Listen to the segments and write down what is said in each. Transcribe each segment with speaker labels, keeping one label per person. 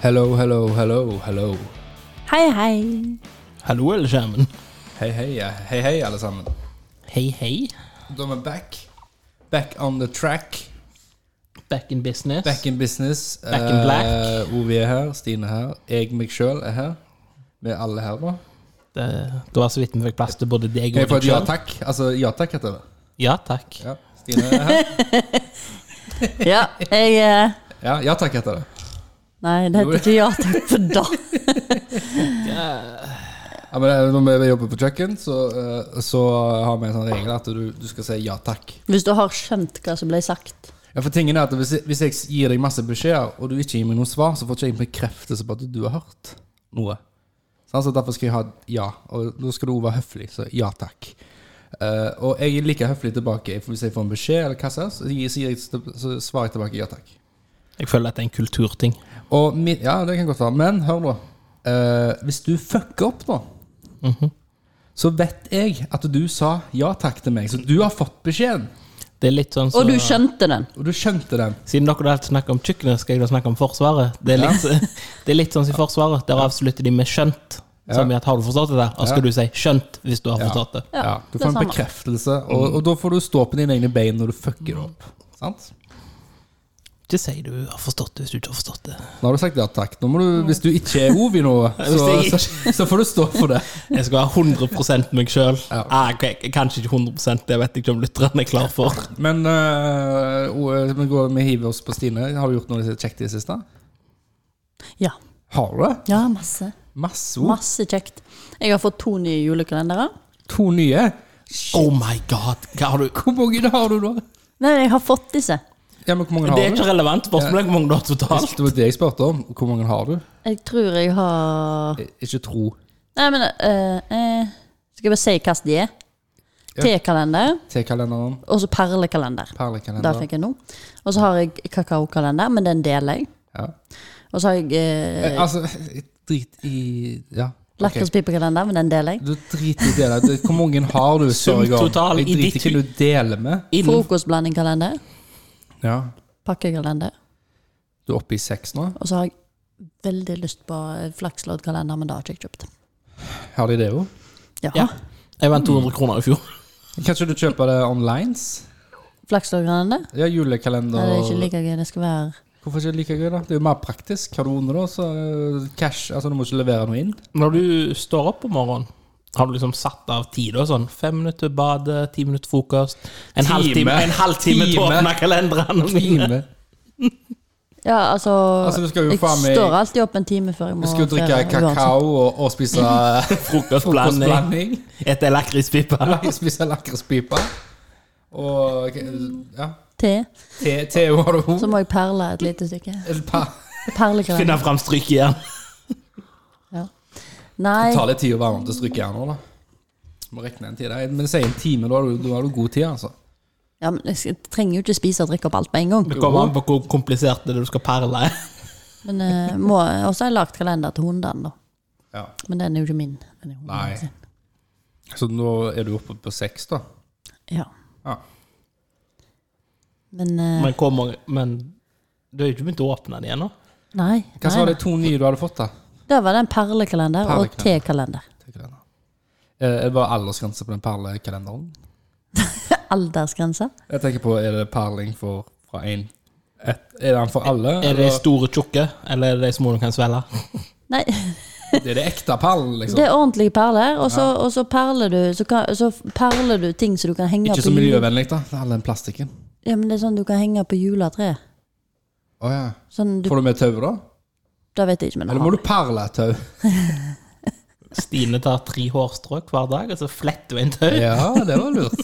Speaker 1: Hello, hello, hello, hello.
Speaker 2: Hei, hei.
Speaker 3: Hallo, alle sammen.
Speaker 1: Hei, hei, ja. hei, hei, alle sammen.
Speaker 3: Hei, hei.
Speaker 1: Da er vi back. Back on the track.
Speaker 3: Back in business.
Speaker 1: Back in business.
Speaker 3: Back in black.
Speaker 1: Eh, Ovi er her, Stine er her. Jeg, meg sjøl, er her. Vi er alle her, da.
Speaker 3: Det, det var så vidt vi fikk plass til både deg
Speaker 1: Jeg
Speaker 3: og
Speaker 1: får et
Speaker 3: deg
Speaker 1: ja
Speaker 3: selv.
Speaker 1: takk. Altså, ja takk heter det.
Speaker 3: Ja, takk.
Speaker 1: Ja, Stine er her.
Speaker 2: Ja, jeg eh,
Speaker 1: Ja, ja takk heter det.
Speaker 2: Nei, det heter ikke ja takk for da.
Speaker 1: Ja, men eh, Når vi jobber på kjøkken, så, eh, så har vi en sånn regel at du, du skal si ja takk.
Speaker 2: Hvis du har skjønt hva som ble sagt.
Speaker 1: Ja, for tingen er at hvis jeg, hvis jeg gir deg masse beskjeder, og du ikke gir meg noe svar, så får ikke jeg bekreftelse på at du har hørt noe. Sånn, så derfor skal jeg ha ja, og da skal du også være høflig, så ja takk. Eh, og jeg er like høflig tilbake for hvis jeg får en beskjed, eller hva som helst, så gir- sier jeg til- så svarer jeg tilbake ja takk.
Speaker 3: Jeg føler at det er en kulturting.
Speaker 1: Og min, ja, det kan godt være, men hør nå. Eh, hvis du fucker opp nå, så vet jeg at du sa ja takk til meg, så du har fått beskjeden,
Speaker 3: Det er litt sånn så,
Speaker 2: Og du skjønte den.
Speaker 1: og du skjønte den.
Speaker 3: Siden dere da alltid snakker om kjøkkenet, skal jeg da snakke om Forsvaret. Det er litt, det er litt sånn som i Forsvaret. Der avslutter de med 'skjønt'. Som i at 'har du forstått det?' der? Og skal
Speaker 1: Ja.
Speaker 3: du si 'skjønt' hvis du har forstått det.
Speaker 1: Ja, du
Speaker 2: det
Speaker 1: får en
Speaker 2: samme.
Speaker 1: bekreftelse, og, og da får du stå på dine egne bein når du fucker opp. Sant?
Speaker 3: Ikke si du har forstått det hvis du ikke har forstått det.
Speaker 1: Nå har du sagt ja takk. Nå må du, hvis du ikke er Ovi nå, så,
Speaker 3: Hvis jeg
Speaker 1: så, så får du stå for det.
Speaker 3: Jeg skal ha 100 meg sjøl.
Speaker 1: Ja.
Speaker 3: Ah, ok, kanskje ikke 100 det vet jeg ikke om lytterne er klar for.
Speaker 1: Men øh, O- vi, går, vi hiver oss på Stine. Har du gjort noe kjekt i det siste?
Speaker 2: Ja.
Speaker 1: Har du det?
Speaker 2: Ja, masse.
Speaker 1: Masse ord.
Speaker 2: Masse kjekt. Jeg har fått to nye julekalendere.
Speaker 1: To nye.
Speaker 3: Oh my god! Hva har du
Speaker 1: Hvor mange har du da?
Speaker 2: Nei, jeg har fått disse.
Speaker 1: Ja, men hvor mange
Speaker 3: Det er
Speaker 1: har du?
Speaker 3: ikke relevant spørsmål hvor mange du har totalt.
Speaker 1: Det var det jeg spurte om. Hvor mange har du?
Speaker 2: Jeg tror jeg har
Speaker 1: Ik- Ikke tro.
Speaker 2: Nei, men eh, eh, Skal jeg bare si hva de er?
Speaker 1: Ja.
Speaker 2: Tekalender,
Speaker 1: T-kalenderen,
Speaker 2: og så perlekalender. Det
Speaker 1: perlekalenderen.
Speaker 2: fikk jeg nå. Og så har jeg kakaokalender, men den deler jeg.
Speaker 1: Ja.
Speaker 2: Og så har jeg eh,
Speaker 1: Eh, Altså, drit i Ja. ok.
Speaker 2: lakrispipekalender, men den deler jeg.
Speaker 1: Du driter i det. der. Det- Hvor mange har du? spør jeg om.
Speaker 3: total
Speaker 1: Jeg
Speaker 3: i
Speaker 1: driter
Speaker 3: ditt
Speaker 1: i hva du deler med.
Speaker 3: Innen
Speaker 2: Frokostblandingkalender,
Speaker 1: Ja.
Speaker 2: pakkekalender.
Speaker 1: Du er oppe i seks nå?
Speaker 2: Og så har jeg veldig lyst på eh, flaksloddkalender, men det har ikke jeg kjøpt.
Speaker 1: Har de det òg?
Speaker 2: Ja.
Speaker 3: Ja. Jeg vant 200 kroner i fjor.
Speaker 1: Kanskje du kjøper det onlines?
Speaker 2: Flaksloddkalender?
Speaker 1: Ja,
Speaker 2: Nei, det er ikke
Speaker 1: julekalender.
Speaker 2: like gøy. Det skal være
Speaker 1: Hvorfor ikke like gøy, da? Det er jo mer praktisk. Har du under, da, så eh, cash Altså, du må ikke levere noe inn.
Speaker 3: Når du står opp om morgenen, har du liksom satt av tid og sånn? Fem minutter bade, ti minutter frokost, en
Speaker 1: Time.
Speaker 3: halvtime En halvtime til å
Speaker 1: Time.
Speaker 3: åpne kalenderen min.
Speaker 1: Time.
Speaker 2: Ja, altså,
Speaker 1: Altså, du skal jo
Speaker 2: Jeg
Speaker 1: faen meg-
Speaker 2: står alltid opp en time før jeg må
Speaker 1: Du skal jo drikke
Speaker 2: ferie, uansett.
Speaker 1: kakao og, og spise
Speaker 3: Frokostblanding.
Speaker 1: frokostblanding.
Speaker 3: Et lakrispipe.
Speaker 1: Spise lakrispipe. Og ja.
Speaker 2: Te.
Speaker 1: Te te har du
Speaker 2: Så
Speaker 1: òg.
Speaker 2: må jeg perle et lite stykke.
Speaker 1: Et par.
Speaker 2: Perlekalender.
Speaker 3: Finne fram strykejern.
Speaker 2: Ja.
Speaker 1: Det
Speaker 2: Nei,
Speaker 1: tar litt tid å varme opp til strykejern òg, da. Må regne en tid. Nei, Men si en time, da har du, da har du god tid, altså.
Speaker 2: ja, men jeg skal- trenger jo ikke spise og drikke opp alt med en gang.
Speaker 3: Det kommer an på hvor komplisert det er du skal perle.
Speaker 2: Men eh, må, Og så har jeg lagd kalender til hundene, da.
Speaker 1: Ja.
Speaker 2: Men den er jo ikke min. Den er hunden
Speaker 1: Nei.
Speaker 2: sin.
Speaker 1: Så nå er du oppe på seks, da?
Speaker 2: Ja.
Speaker 1: Ja.
Speaker 2: Men eh,
Speaker 3: Men, hvor mange- men du har jo ikke begynt å åpne den igjen nå?
Speaker 2: Nei.
Speaker 1: Hva
Speaker 2: nei,
Speaker 1: var de to nye du hadde fått, da?
Speaker 2: Det var den perlekalender og
Speaker 1: Perlekalender.
Speaker 2: tekalender.
Speaker 1: Eh, Er det bare aldersgrense på den perlekalenderen?
Speaker 2: Aldersgrense.
Speaker 1: Jeg tenker på, er det perling for fra én Er den for alle?
Speaker 3: Er det
Speaker 1: eller-
Speaker 3: de store, tjukke, eller er det de små du kan svelge?
Speaker 2: Nei,
Speaker 1: det er det ekte perlen, liksom?
Speaker 2: det er ordentlige perler, og så, og så perler du så, kan, så perler du ting som du kan henge
Speaker 1: Ikke
Speaker 2: på
Speaker 1: så
Speaker 2: jul-
Speaker 1: miljøvennlig, da. Det er All den plastikken.
Speaker 2: Ja, men det er sånn du kan henge på juletreet.
Speaker 1: Å ja.
Speaker 2: Sånn du,
Speaker 1: Får du med tau, da?
Speaker 2: det vet jeg ikke, men
Speaker 1: Eller
Speaker 2: jeg
Speaker 1: må
Speaker 2: har.
Speaker 1: du perle et tau?
Speaker 3: Stine tar tre hårstrå hver dag, og så fletter hun en tau.
Speaker 1: Ja, det var lurt.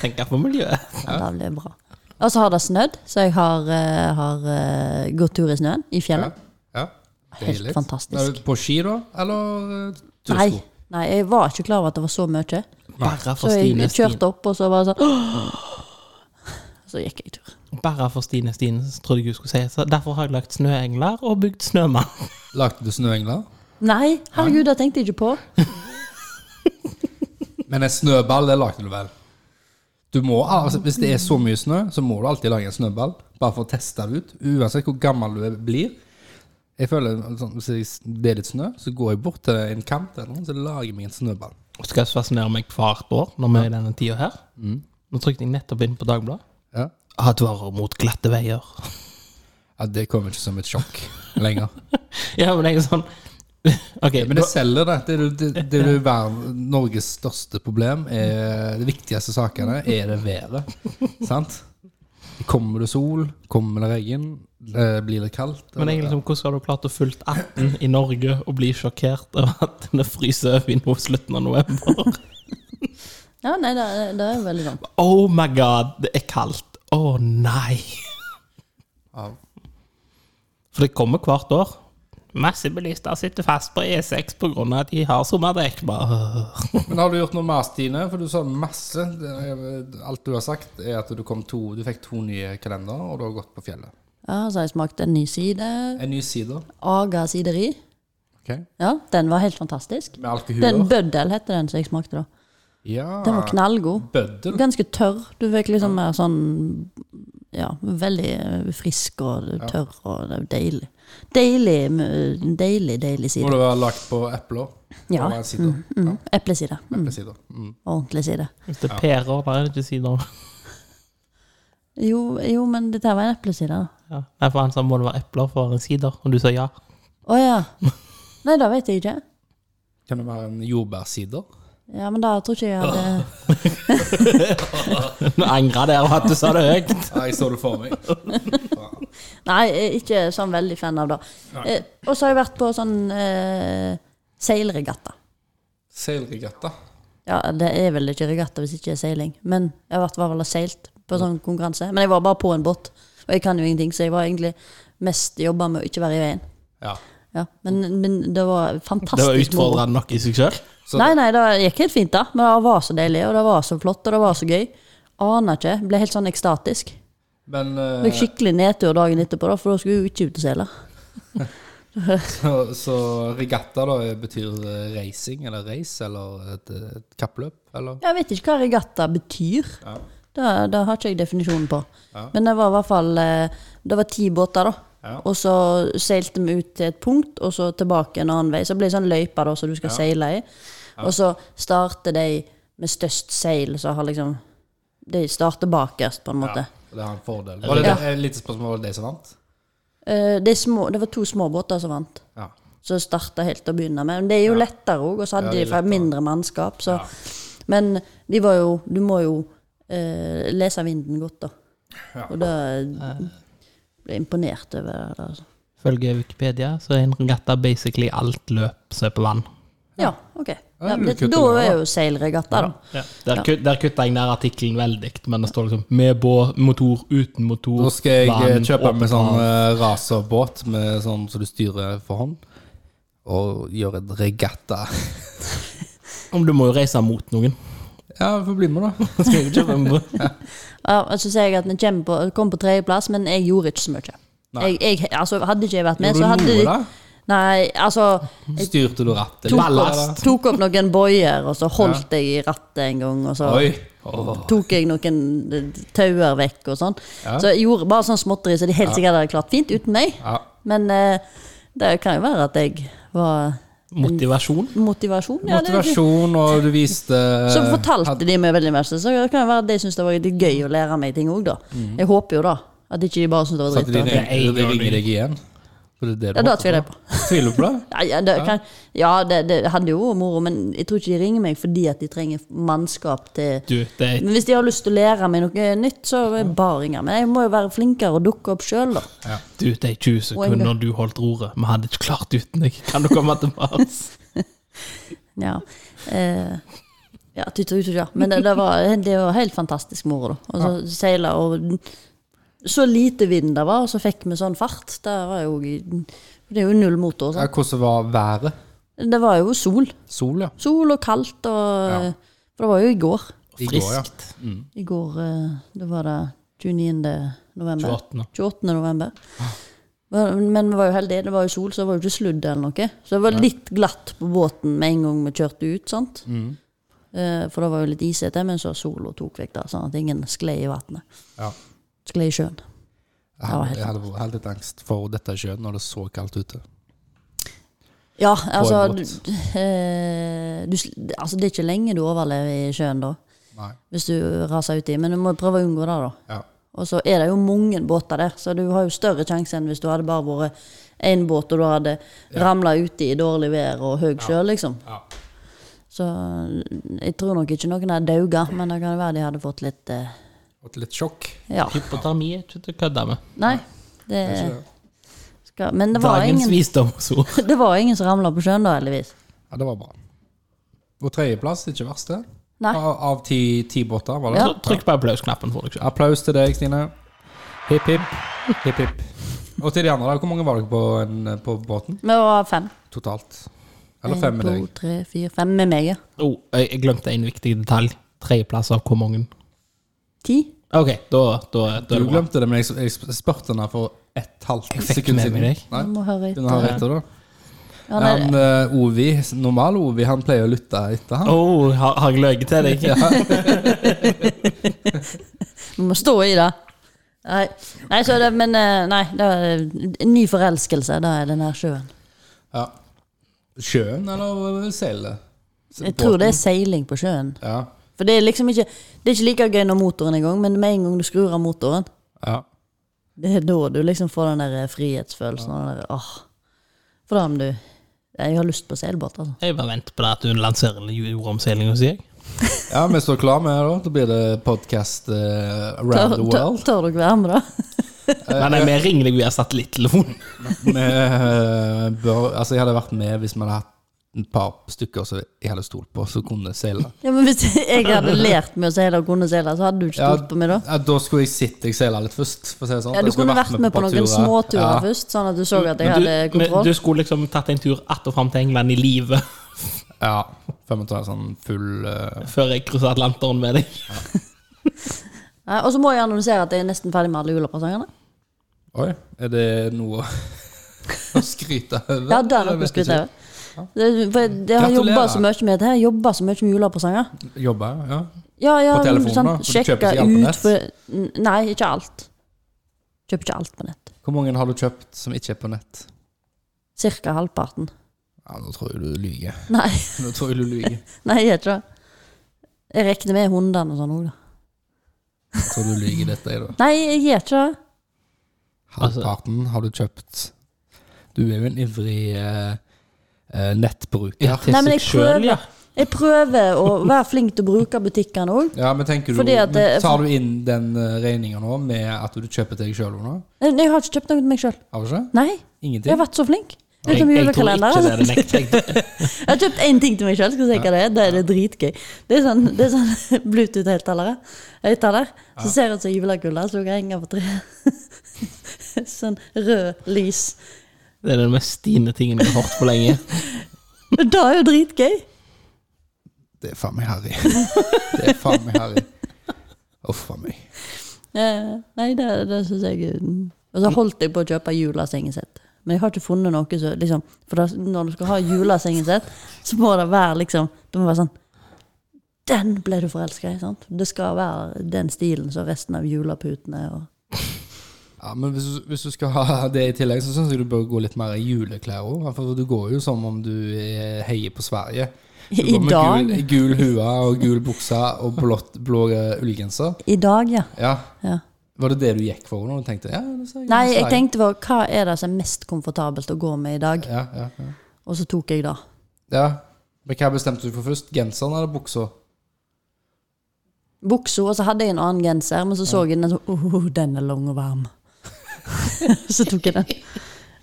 Speaker 3: Tenker på miljøet.
Speaker 2: Ja, det ah, blir bra. Og så har det snødd, så jeg har, eh, har eh, gått tur i snøen
Speaker 1: Ja.
Speaker 2: i fjellet.
Speaker 1: ja.
Speaker 2: Helt
Speaker 1: Deilig.
Speaker 2: fantastisk.
Speaker 1: Er du På ski, da? Eller eh, tursko?
Speaker 2: Nei, nei, jeg var ikke klar over at det var så mye.
Speaker 3: Bare for
Speaker 2: Så
Speaker 3: Stine,
Speaker 2: jeg
Speaker 3: Stine.
Speaker 2: kjørte opp, og så var det sånn Så gikk jeg tur.
Speaker 3: Bare for Stine Stine, så trodde jeg hun skulle si så Derfor har jeg lagt snøengler og bygd snømann.
Speaker 1: Lagde du snøengler?
Speaker 2: Nei, herregud, det tenkte jeg ikke på.
Speaker 1: Men en snøball, det lagde du vel? Du må, altså, hvis det er så mye snø, så må du alltid lage en snøball. Bare for å teste det ut. Uansett hvor gammel du er- blir. Jeg føler sånn, Hvis jeg- det er litt snø, så går jeg bort til en kant eller noe, så lager jeg meg en snøball.
Speaker 3: Og skal jeg fascinere meg hvert år når vi er i denne tida her. Nå trykte jeg nettopp inn på Dagbladet.
Speaker 1: Ja.
Speaker 3: Mm. Advarer mot glatte veier.
Speaker 1: ja, Det kommer ikke som et sjokk lenger.
Speaker 3: Ja, men jeg er sånn Ok,
Speaker 1: Men det selger, det. Det, er jo- det, det er jo verden- Norges største problem. Er, de viktigste sakene er det været. Sant? Kommer det sol? Kommer det regn? eh, Blir det kaldt?
Speaker 3: Men jeg, er liksom, hvordan har du klart å fulgt 18 i Norge og bli sjokkert over at det fryser over i nå slutten av november?
Speaker 2: Ja, nei, det, det er veldig dumt.
Speaker 3: Oh my god, det er kaldt. Å nei.
Speaker 1: Ja.
Speaker 3: For det kommer hvert år. Masse bilister sitter fast på E6 pga. at de har sommerdekk. Bare, øh.
Speaker 1: Men har du gjort noe mer, Stine? For du sa masse. Det er- Alt du har sagt, er at du, kom to, du fikk to nye kalendere, og du har gått på fjellet.
Speaker 2: Ja, så har jeg smakt en ny sider.
Speaker 1: En ny sider
Speaker 2: Aga sideri.
Speaker 1: ok,
Speaker 2: Ja, den var helt fantastisk.
Speaker 1: med
Speaker 2: Den
Speaker 1: alkoholer.
Speaker 2: bøddel heter den som jeg smakte, da.
Speaker 1: Ja.
Speaker 2: Den var knallgod.
Speaker 1: Bøddel.
Speaker 2: Ganske tørr. Du fikk liksom mer sånn Ja, veldig eh, frisk og tørr, og det er deilig. Deilig, eh, deilig, deilig
Speaker 1: Må
Speaker 2: sider.
Speaker 1: det være lagt på epler?
Speaker 2: Ja.
Speaker 1: Og en sider.
Speaker 2: Mm, epleside. Mm,
Speaker 1: Eplesider. Mm.
Speaker 2: ordentlig side.
Speaker 3: Hvis det er pærer, da er det ikke sider.
Speaker 2: Jo, jo, men dette her var en epleside, da.
Speaker 3: Ja. Nei, for han sa må det være epler for å være sider, og du sa ja.
Speaker 2: Å ja. Nei, det vet jeg ikke.
Speaker 1: Kan det være en jordbærsider?
Speaker 2: Ja, men da tror ikke jeg hadde
Speaker 3: Nå angrer jeg over at du sa det høyt.
Speaker 1: Ja, jeg så det for meg.
Speaker 2: Nei, jeg er ikke sånn veldig fan av det. Eh, og så har jeg vært på sånn eh, seilregatta.
Speaker 1: Seilregatta.
Speaker 2: Ja, det er vel ikke regatta hvis ikke det er seiling, men jeg har vært var vel og seilt på sånn konkurranse. Men jeg var bare på en båt, og jeg kan jo ingenting, så jeg var egentlig mest jobba med å ikke være i veien.
Speaker 1: Ja.
Speaker 2: Ja, men, men det var
Speaker 3: Det var
Speaker 2: fantastisk moro.
Speaker 3: utfordrende altså. nok i seg sjøl.
Speaker 1: Så-
Speaker 2: Nei, nei, det gikk helt fint, da. Men det var så deilig, og det var så flott, og det var så gøy. Aner ikke. Ble helt sånn ekstatisk.
Speaker 1: Men eh,
Speaker 2: Fikk skikkelig nedtur dagen etterpå, da, for da skulle vi jo ikke ut og seile.
Speaker 1: eh, så, så regatta da betyr eh, racing eller race eller et, et kappløp, eller?
Speaker 2: Jeg vet ikke hva regatta betyr.
Speaker 1: Ja.
Speaker 2: Det, det har ikke jeg definisjonen på. Men det var i hvert fall eh, Det var ti båter, da.
Speaker 1: Ja.
Speaker 2: Og så seilte vi ut til et punkt, og så tilbake en annen vei. Så det blir sånn løype da, som du skal seile i. Og så starter de med størst seil, så har liksom De starter bakerst, på en måte.
Speaker 1: Og det har en fordel. Var det
Speaker 2: Ja.
Speaker 1: det- et lite spørsmål om de som vant?
Speaker 2: Eh, de små, det var to småbåter som vant.
Speaker 1: Ja.
Speaker 2: Så starta helt til å begynne med. Men det er jo lettere òg, og så hadde
Speaker 1: Ja, det er
Speaker 2: de fra
Speaker 1: lettere.
Speaker 2: mindre mannskap. Så. Men de var jo Du må jo eh, lese vinden godt, da.
Speaker 1: Ja.
Speaker 2: Og da eh, ble jeg imponert over det. da, Altså.
Speaker 3: Ifølge Wikipedia så er en regatta basically alt løp som er på vann.
Speaker 2: Ja, OK. Ja,
Speaker 1: du
Speaker 2: det,
Speaker 1: kutter
Speaker 2: da
Speaker 1: det,
Speaker 2: er
Speaker 1: da.
Speaker 2: jo seilregatta, da.
Speaker 3: Der, kut, der kutta jeg ned artikkelen veldig, men det står liksom med båt, motor, uten motor
Speaker 1: Da skal jeg eh,
Speaker 3: vann,
Speaker 1: kjøpe
Speaker 3: åpen
Speaker 1: meg sånn
Speaker 3: hav.
Speaker 1: eh, racerbåt med sånn som du styrer for hånd. Og gjøre en regatta.
Speaker 3: Om du må jo reise mot noen.
Speaker 1: Ja, vi får bli med, da.
Speaker 3: Skal jeg kjøpe en båt?
Speaker 2: Ja, og så sier jeg at den kommer på, kom på tredjeplass, men jeg gjorde ikke så mye. Jeg, jeg, altså, hadde ikke jeg vært med,
Speaker 1: Gjorde
Speaker 2: så
Speaker 1: du
Speaker 2: hadde
Speaker 1: noe,
Speaker 2: de
Speaker 1: da?
Speaker 2: Nei, altså
Speaker 1: Styrte du rattet?
Speaker 2: tok
Speaker 3: Ballast.
Speaker 2: opp, tok opp noen boier, og så holdt jeg i rattet en gang, og så
Speaker 1: Oi. Åh.
Speaker 2: tok jeg noen eh, tauer vekk og sånn. Så jeg gjorde bare sånn småtteri så de helt sikkert hadde klart fint uten meg.
Speaker 1: Ja.
Speaker 2: Men eh, det kan jo være at jeg var
Speaker 3: Motivasjon.
Speaker 2: motivasjon. ja, det-
Speaker 1: Motivasjon, eh, og du viste
Speaker 2: så fortalte de meg veldig mye, så det kan jo være at de syntes det var litt gøy å lære meg ting òg, da. Jeg håper jo da at ikke de bare syntes det
Speaker 1: At
Speaker 2: var
Speaker 1: Mhm. de
Speaker 2: dritt. da.
Speaker 1: ringte, de ringer deg igjen? For det er det du
Speaker 2: Ja, da
Speaker 1: håper
Speaker 2: tviler jeg på.
Speaker 1: Tviler du på det?
Speaker 2: Ja, ja, det, kan, ja det, det hadde jo vært moro, men jeg tror ikke de ringer meg fordi at de trenger mannskap til
Speaker 3: Du, det er
Speaker 2: Men hvis de har lyst til å lære meg noe nytt, så er det bare å ringe. Men jeg må jo være flinkere og dukke opp sjøl, da.
Speaker 3: du, de 20 sekunder du holdt roret. Vi hadde ikke klart uten deg. Kan du komme tilbake?
Speaker 2: Ja. Eh, ja, tut og tut, ja. Men det, det, var, det var helt fantastisk moro, da. Og så seile og Så lite vind det var, og så fikk vi sånn fart. Det var jo Det er jo null motor.
Speaker 1: Ja,
Speaker 2: Sant?
Speaker 1: hvordan var været?
Speaker 2: Det var jo sol.
Speaker 1: Sol, ja.
Speaker 2: Sol og kaldt og
Speaker 1: Ja.
Speaker 2: For det var jo i går.
Speaker 1: I går, ja.
Speaker 3: Friskt.
Speaker 2: I går eh, det var det 29. november.
Speaker 3: 28.
Speaker 2: 28. november. Men- Men vi var jo heldige, det var jo sol, så det var jo ikke sludd eller noe. Så det var litt glatt på båten med en gang vi kjørte ut, sant. Eh, For det var jo litt isete, men så sola tok vekk det, sånn at ingen sklei i vannet.
Speaker 1: ja.
Speaker 2: Sklei i sjøen.
Speaker 1: Jeg
Speaker 2: var
Speaker 1: hadde,
Speaker 2: helt
Speaker 1: jeg hadde vært helt litt angst for dette sjøen når det er så kaldt ute.
Speaker 2: Ja, altså
Speaker 1: båt.
Speaker 2: du, eh, du, sl- altså Det er ikke lenge du overlever i sjøen da,
Speaker 1: Nei.
Speaker 2: hvis du raser uti. Men du må prøve å unngå det, da.
Speaker 1: Ja.
Speaker 2: Og så er det jo mange båter der, så du har jo større sjanse enn hvis du hadde bare vært én båt, og du hadde ramla uti i dårlig vær og høy sjø, liksom.
Speaker 1: Ja.
Speaker 2: Så mm, jeg tror nok ikke noen hadde dauga, men det kan være de hadde fått litt eh,
Speaker 1: Fått litt sjokk.
Speaker 2: Ja.
Speaker 3: Hypotermi er ikke til å kødde med.
Speaker 2: Nei. Det
Speaker 1: Ikke det?
Speaker 2: skal Men det var
Speaker 3: Dagens
Speaker 2: ingen,
Speaker 3: visdomsord.
Speaker 2: det var ingen som ramla på sjøen da, heldigvis.
Speaker 1: Ja, det var bra. Og tredjeplass, ikke verst det.
Speaker 2: Nei.
Speaker 1: Av, av ti, ti båter, var det?
Speaker 2: Ja.
Speaker 3: Så Trykk på applausknappen for deg sjøl.
Speaker 1: Applaus til deg, Stine. Hipp, hipp. Hipp, hipp. Og til de andre, da. Hvor mange var dere på, en, på båten
Speaker 2: Vi var fem.
Speaker 1: totalt? Eller fem
Speaker 2: En,
Speaker 1: med deg?
Speaker 2: To, tre, fire, fem med meg, ja.
Speaker 3: Oh, jeg jeg glemte en viktig detalj. Tredjeplass av hvor mange?
Speaker 2: Ti.
Speaker 3: Ok, da, da, da er
Speaker 1: Du
Speaker 3: det bra.
Speaker 1: glemte det, men jeg, jeg spurte henne for et halvt
Speaker 3: Jeg fikk
Speaker 1: sekund
Speaker 3: med
Speaker 1: siden.
Speaker 3: meg deg.
Speaker 1: Nei,
Speaker 2: Vi må høre
Speaker 1: Kunne ha
Speaker 2: etter.
Speaker 1: rett til det.
Speaker 2: Ja, nei,
Speaker 1: Han eh, Ovi, normal Ovi, han pleier å lytte etter han.
Speaker 3: Oh, har, har jeg løyet til deg?
Speaker 2: Vi må stå i det. Nei, nei, så det, men eh, nei, det er en ny forelskelse, da er den her sjøen.
Speaker 1: Ja. Sjøen, eller seilet?
Speaker 2: Jeg tror det er seiling på sjøen.
Speaker 1: Ja.
Speaker 2: For det er liksom ikke Det er ikke like gøy når motoren er i gang, men med en gang du skrur av motoren,
Speaker 1: ja.
Speaker 2: det er da du liksom får den der frihetsfølelsen. Og den der, åh. For da om du Jeg har lyst på seilbåt, altså.
Speaker 3: Jeg bare venter på det at du lanserer jordomseilinga, sier jeg.
Speaker 1: ja, vi står klar med det, da. Da blir det podcast eh, around the
Speaker 2: tør,
Speaker 1: world.
Speaker 2: tør dere være med, da?
Speaker 3: Nei, nei, vi ringer deg via satellittelefonen.
Speaker 1: Vi, eh, bør, altså, jeg hadde vært med hvis vi hadde hatt et par stykker som jeg hadde stolt på, som kunne seile.
Speaker 2: Ja, men Hvis jeg hadde lært meg å seile og kunne seile, så hadde du ikke
Speaker 1: Ja,
Speaker 2: stolt på meg da?
Speaker 1: Ja, da skulle jeg sett deg seile litt først. For å si det sånn.
Speaker 2: Ja, Du
Speaker 1: Jeg skulle
Speaker 2: kunne vært med på
Speaker 1: et par
Speaker 2: noen
Speaker 1: turer.
Speaker 2: småturer
Speaker 1: Ja.
Speaker 2: først, sånn at du så at jeg
Speaker 3: Men du,
Speaker 2: hadde
Speaker 3: men
Speaker 2: kontroll.
Speaker 3: du skulle liksom tatt en tur att og fram til England i live
Speaker 1: Ja. Før vi tar en sånn full eh,
Speaker 3: før jeg krysser Atlanteren med deg.
Speaker 2: Nei, Og så må jeg annonsere at jeg er nesten ferdig med alle julepresangene.
Speaker 1: Oi, er det noe å skryte over?
Speaker 2: Ja, det
Speaker 1: Jeg
Speaker 2: er noe
Speaker 1: vet
Speaker 2: skutt
Speaker 1: ikke.
Speaker 2: over. Det- For jeg- jeg har
Speaker 1: Gratulerer.
Speaker 2: jobba så mye med det her. Jobba så mye med julepresanger.
Speaker 1: Jobbe, ja.
Speaker 2: Ja, ja,
Speaker 1: På telefonen,
Speaker 2: sant,
Speaker 1: da? For du
Speaker 2: sjekka
Speaker 1: kjøper ikke alt på
Speaker 2: ut
Speaker 1: nett?
Speaker 2: for- N- Nei, ikke alt. Kjøper ikke alt på nett.
Speaker 1: Hvor mange har du kjøpt som ikke er på nett?
Speaker 2: Cirka halvparten.
Speaker 1: Ja, Nå tror jeg du lyver.
Speaker 2: Nei,
Speaker 1: Nå tror jeg du lyver.
Speaker 2: nei, jeg gjør ikke det. Jeg regner med hundene og sånn òg, da.
Speaker 1: Jeg tror du lyver dette, jeg, da.
Speaker 2: Nei, jeg gjør ikke det.
Speaker 1: Halvparten har du kjøpt. Du er jo en ivrig eh, eh, nettbruker.
Speaker 3: Ja, til
Speaker 2: Nei, men
Speaker 3: seg
Speaker 2: jeg
Speaker 3: selv, ja.
Speaker 2: Jeg prøver å være flink til å bruke butikkene òg.
Speaker 1: Ja, men tenker du,
Speaker 2: Fordi at
Speaker 1: men
Speaker 2: det-
Speaker 1: Tar du inn den regninga nå med at du kjøper til deg sjøl nå?
Speaker 2: Jeg jeg har ikke kjøpt noe til meg sjøl.
Speaker 1: Har du ikke?
Speaker 2: Nei, jeg
Speaker 1: Ingenting?
Speaker 2: har vært så flink.
Speaker 3: Jeg,
Speaker 2: Utenom
Speaker 3: jeg tror
Speaker 2: julekalender.
Speaker 3: ikke
Speaker 2: altså.
Speaker 3: det er det nektet.
Speaker 2: Jeg har kjøpt én ting til meg sjøl, skal jeg si hva det er. Da er det dritgøy. Det er sånn, det er sånn Bluetooth-høyttalere. Høyttaler. Så ser det ut som julekule som kan henge på treet. Sånn rød lys.
Speaker 3: Det er den mest stine tingen jeg har hørt på lenge.
Speaker 2: Og Det er jo dritgøy.
Speaker 1: Det er faen meg harry. Det er faen meg harry. Uff a meg.
Speaker 2: Eh, Nei, det, det syns jeg er- Og så holdt jeg på å kjøpe julesengesett. Men jeg har ikke funnet noe så liksom, For da, når du skal ha julesengesett, så må det være liksom Det må være sånn Den ble du forelska i, sant? Det skal være den stilen som resten av juleputene og
Speaker 1: Ja, men hvis, du- hvis du skal ha det i tillegg, så syns jeg du bør gå litt mer i juleklær òg. For du går jo som om du eh, heier på Sverige. Du
Speaker 2: I
Speaker 1: går med
Speaker 2: dag.
Speaker 1: Gul, gul hue og gul bukse og blått, blå eh, ullgenser.
Speaker 2: I dag, ja.
Speaker 1: Ja.
Speaker 2: ja.
Speaker 1: Var det det du gikk for når du tenkte ja, det ser ut som
Speaker 2: Nei, jeg
Speaker 1: Sverige.
Speaker 2: tenkte på hva er det som er mest komfortabelt å gå med i dag,
Speaker 1: ja, ja, ja.
Speaker 2: og så tok jeg det.
Speaker 1: ja. Men hva bestemte du for først? Genseren eller buksa?
Speaker 2: Buksa, og så hadde jeg en annen genser, men så så jeg den sånn oh, den er lang og varm. så tok jeg den.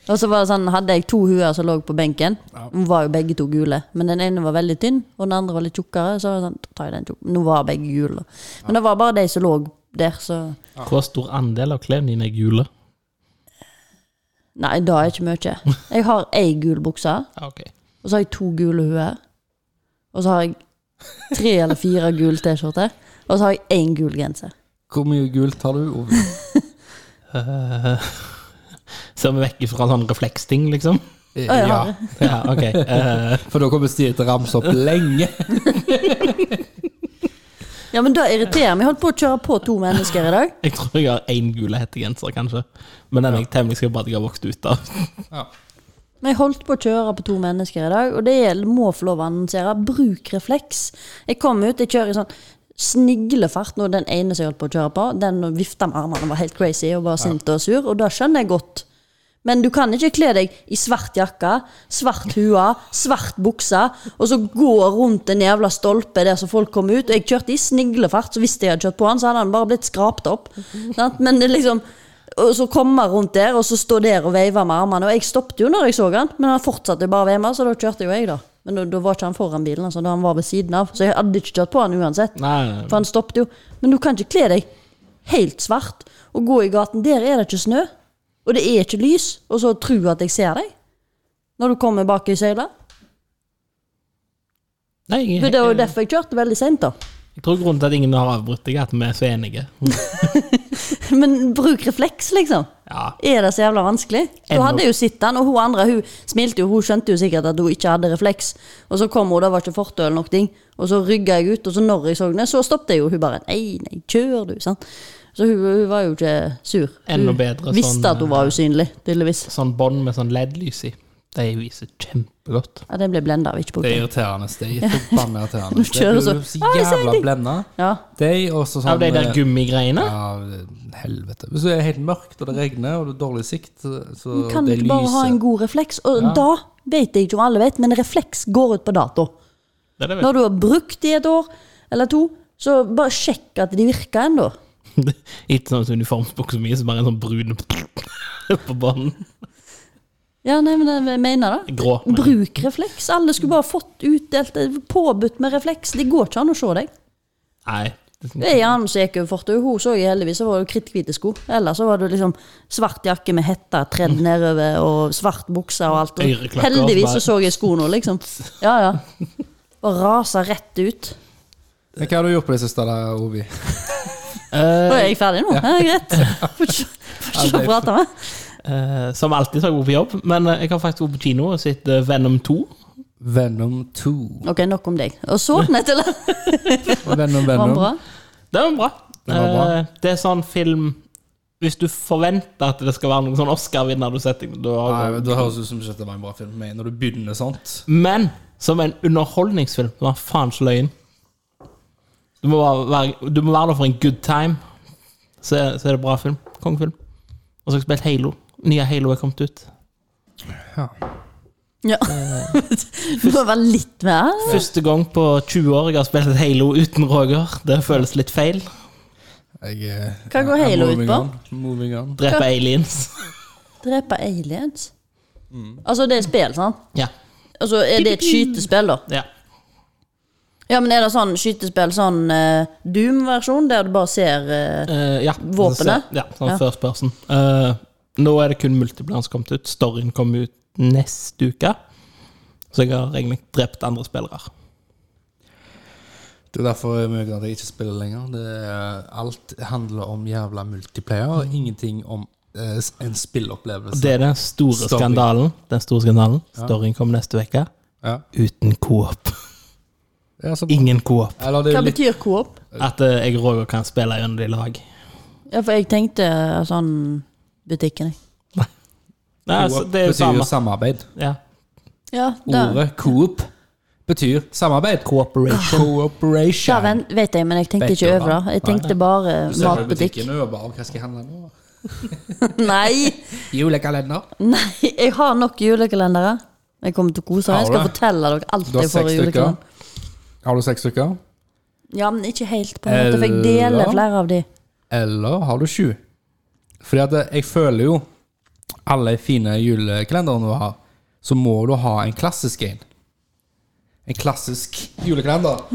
Speaker 2: Og så var det sånn, hadde jeg to huer som lå på benken. De var jo begge to gule. Men den ene var veldig tynn, og den andre var litt tjukkere. Så var det sånn, da tar jeg den tjukk. Nå var begge gule. da. Men det var bare de som lå der, så
Speaker 3: Hvor stor andel av klærne dine er gule?
Speaker 2: Nei, det er ikke mye. Jeg har ei gul bukse.
Speaker 3: Ja, ok.
Speaker 2: Og så har jeg to gule huer. Og så har jeg tre eller fire gule T-skjorter. Og så har jeg én gul genser.
Speaker 1: Hvor mye gult har du? Ove?
Speaker 3: Eh, Ser vi vekk fra sånn refleksting, liksom?
Speaker 1: Eh,
Speaker 2: jeg
Speaker 1: Ja,
Speaker 2: har
Speaker 3: Ja, ok. Eh,
Speaker 1: for da kommer Stie til å ramse opp lenge.
Speaker 2: Ja, men da irriterer meg. Jeg holdt på å kjøre på to mennesker i dag.
Speaker 3: jeg tror jeg har én gule hettegenser, kanskje. Men den er jeg temmelig sikker på at jeg har vokst ut av.
Speaker 1: Ja.
Speaker 2: Men jeg holdt på å kjøre på to mennesker i dag, og det er- må få lov å annonsere. Bruk refleks. Jeg kom ut, jeg kjører i sånn sniglefart nå, den ene som jeg holdt på å kjøre på, den vifta med armene var helt crazy og var sint og sur, og det skjønner jeg godt. Men du kan ikke kle deg i svart jakke, svart hue, svart bukse, og så gå rundt en jævla stolpe der som folk kommer ut. Og jeg kjørte i sniglefart, så hvis jeg hadde kjørt på han, så hadde han bare blitt skrapt opp. Sant? Men det er liksom og så komme rundt der, og så stå der og veive med armene. Og jeg stoppet jo når jeg så han, men han fortsatte bare å veie meg, så da kjørte jo jeg, da. Men da, da var ikke han foran bilen, altså, da han var ved siden av. Så jeg hadde ikke kjørt på han uansett.
Speaker 3: Nei,
Speaker 2: For han stoppet jo. Men du kan ikke kle deg helt svart og gå i gaten. Der er det ikke snø, og det er ikke lys, og så tro at jeg ser deg når du kommer bak i søyla.
Speaker 3: nei jeg,
Speaker 2: Det
Speaker 3: jeg,
Speaker 2: var jo derfor jeg kjørte veldig seint, da.
Speaker 3: tror grunnen til at ingen har avbrutt deg, er at vi er så enige.
Speaker 2: Men bruk refleks, liksom.
Speaker 3: Ja,
Speaker 2: Er det så jævla vanskelig? Da
Speaker 3: Ennå.
Speaker 2: hadde jeg jo sett den, og hun andre hun smilte jo, hun skjønte jo sikkert at hun ikke hadde refleks. Og så kom hun, det var ikke fortau eller noe, ting. og så rygga jeg ut, og så når jeg så henne, så stoppet jeg jo. Hun bare Nei, nei, kjør du, sant. Så hun, hun var jo ikke sur. Hun
Speaker 3: Enda bedre
Speaker 2: visste
Speaker 3: sånn,
Speaker 2: at hun var usynlig, tydeligvis.
Speaker 3: sånn bånd med sånn LED-lys i. De viser kjempegodt.
Speaker 2: Ja, den ble blenda av, ikke
Speaker 1: Det er
Speaker 2: pga.
Speaker 1: irriterende. Det er forbanna irriterende.
Speaker 2: Nå
Speaker 1: Det blir
Speaker 2: kjører
Speaker 1: jo
Speaker 2: du så-
Speaker 1: så
Speaker 2: Å, jeg ser
Speaker 1: jævla
Speaker 2: ingenting.
Speaker 1: blenda.
Speaker 2: Ja.
Speaker 1: De og så sånn
Speaker 3: Av de der gummigreiene?
Speaker 1: Ja, helvete. Hvis det er helt mørkt, og det regner, og det er dårlig sikt, så
Speaker 2: Kan du
Speaker 1: det
Speaker 2: ikke bare ha en god refleks? Og da vet jeg ikke om alle vet, men refleks går ut på dato.
Speaker 3: Det er det vel.
Speaker 2: Når du har brukt de et år eller to, så bare sjekk at de virker ennå.
Speaker 3: Ikke sånn uniformsbukse mye, så bare en sånn brun på bånden.
Speaker 2: Ja, nei, men jeg mener det.
Speaker 3: Grå. men-
Speaker 2: Bruk refleks. Alle skulle bare fått utdelt det, påbudt med refleks. Det går ikke an å se deg.
Speaker 3: Nei.
Speaker 2: Det er gjerne som gikk over fortauet. Hun så jeg heldigvis, så var det kritthvite sko. Ellers så var det liksom svart jakke med hette
Speaker 3: Mm.
Speaker 2: tredd nedover, og svart bukse og alt. Og
Speaker 3: Øreklokker,
Speaker 2: heldigvis så
Speaker 3: bare-
Speaker 2: så jeg skoene, liksom. Ja, ja. Og rasa rett ut.
Speaker 1: Men Hva har du gjort på det siste, da, Ovi?
Speaker 2: Nå er
Speaker 3: Eh,
Speaker 2: jeg ferdig nå. Ja, greit. Får ikke- får ikke å prate med.
Speaker 3: eh, som alltid så har jeg vært på jobb, men eh, jeg har faktisk vært på kino og sett eh, Venom 2.
Speaker 1: Venom 2.
Speaker 2: Ok, nok om deg. Og så, Nettele.
Speaker 1: Venom,
Speaker 2: Var den
Speaker 1: Venom.
Speaker 2: bra?
Speaker 3: Det var bra.
Speaker 1: Den var bra.
Speaker 3: Eh, det er sånn film Hvis du forventer at det skal være noen sånn Oscar-vinner du setter da
Speaker 1: Nei,
Speaker 3: har-
Speaker 1: men Det høres ut som ikke det var en bra film. Men når du begynner sånt
Speaker 3: Men som en underholdningsfilm, det var faen ikke løgn. Du må bare være, du må være der for en good time. Så, så er det bra film. Kongefilm. Og så har jeg spilt Halo. Nye Halo er kommet ut.
Speaker 2: Ja.
Speaker 3: Eh.
Speaker 2: Du må være litt mer
Speaker 3: Første gang på 20 år jeg har spilt et Halo uten Roger. Det føles litt feil.
Speaker 1: jeg, eh,
Speaker 2: Hva går
Speaker 1: I'm
Speaker 2: Halo ut
Speaker 1: moving
Speaker 2: på?
Speaker 1: on, Moving on.
Speaker 3: Drepe aliens.
Speaker 2: Drepe aliens?
Speaker 1: Mm.
Speaker 2: Altså, det er spill, sant?
Speaker 3: Ja.
Speaker 2: Altså, er det et skytespill, da?
Speaker 3: ja.
Speaker 2: Ja, men er det sånn skytespill, sånn eh, Doom-versjon, der du bare ser eh,
Speaker 3: Eh, ja.
Speaker 2: Våpenet?
Speaker 3: Ja, sånn
Speaker 2: Ja.
Speaker 3: first person. Eh, nå er det kun multiplayer som kommet ut. Storyen kommer ut neste uke. Så jeg har egentlig drept andre spillere.
Speaker 1: Det er derfor jeg merker at jeg ikke spiller lenger. Det er, alt handler om jævla multiplayer, og ingenting om eh, s- en spillopplevelse.
Speaker 3: Det er den store
Speaker 1: Story.
Speaker 3: skandalen. Den store skandalen. Storyen kommer neste uke.
Speaker 1: Ja.
Speaker 3: Uten coop.
Speaker 1: Ja, så,
Speaker 3: Ingen coop.
Speaker 1: eller det er
Speaker 2: Hva
Speaker 1: jo litt
Speaker 2: betyr coop?
Speaker 3: At eh, jeg og Roger kan spille gjennom de lag.
Speaker 2: Ja, for jeg tenkte eh, sånn butikken, jeg.
Speaker 3: Nei, altså,
Speaker 1: Coop
Speaker 3: det er jo
Speaker 1: betyr jo
Speaker 3: samme.
Speaker 1: samarbeid.
Speaker 3: Ja.
Speaker 2: Ja, da,
Speaker 1: Ordet coop betyr samarbeid.
Speaker 3: Cooperation.
Speaker 1: Cooperation.
Speaker 2: da ven- vet jeg, men jeg tenkte
Speaker 1: Vet
Speaker 2: ikke
Speaker 1: du
Speaker 2: over det. Jeg tenkte bare
Speaker 1: Du ser på
Speaker 2: matbutikk.
Speaker 1: butikken og er bare Hva skal jeg handle nå?
Speaker 2: Nei!
Speaker 1: Julekalender.
Speaker 2: Nei, jeg har nok julekalendere. Jeg kommer til å kose meg. Jeg
Speaker 1: Har
Speaker 2: skal
Speaker 1: du?
Speaker 2: fortelle dere alt
Speaker 1: Du har
Speaker 2: jeg
Speaker 1: seks
Speaker 2: får i
Speaker 1: stykker.
Speaker 2: julekalenderen.
Speaker 1: Har du seks stykker?
Speaker 2: Ja, men ikke helt, på en måte, for jeg deler
Speaker 1: Eller?
Speaker 2: flere av de.
Speaker 1: Eller har du sju? Fordi at eh, jeg føler jo alle de fine julekalenderne du har, så må du ha en klassisk en. En klassisk julekalender.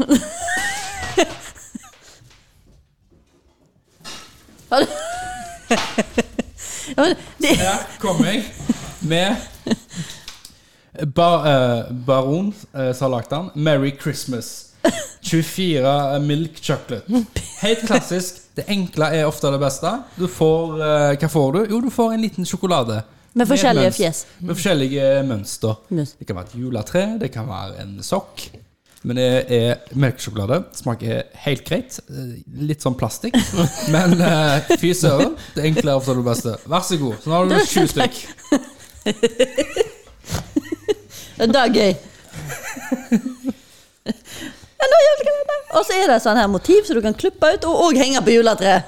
Speaker 2: Ja, men det,
Speaker 1: Her kommer jeg med Bar, eh, Baron, eh, som har lagd den, 'Merry Christmas'. 24 milk chocolate. Helt klassisk. Det enkle er ofte det beste. Du får, eh, hva får du? Jo, du får en liten sjokolade.
Speaker 2: Med forskjellige
Speaker 1: møns-
Speaker 2: fjes.
Speaker 1: Med forskjellige mønster.
Speaker 2: Mønster.
Speaker 1: Det kan være et juletre, det kan være en sokk. Men det er melkesjokolade. Smaker helt greit. Eh, Litt sånn plastikk. Men eh, fy søren, det enkle er ofte det beste. Vær så god. Så nå har du sju stykk.
Speaker 2: Det er gøy. Ja, nå gjør vi det. Og så er det sånn her motiv som du kan klippe ut, og, og henge på juletreet.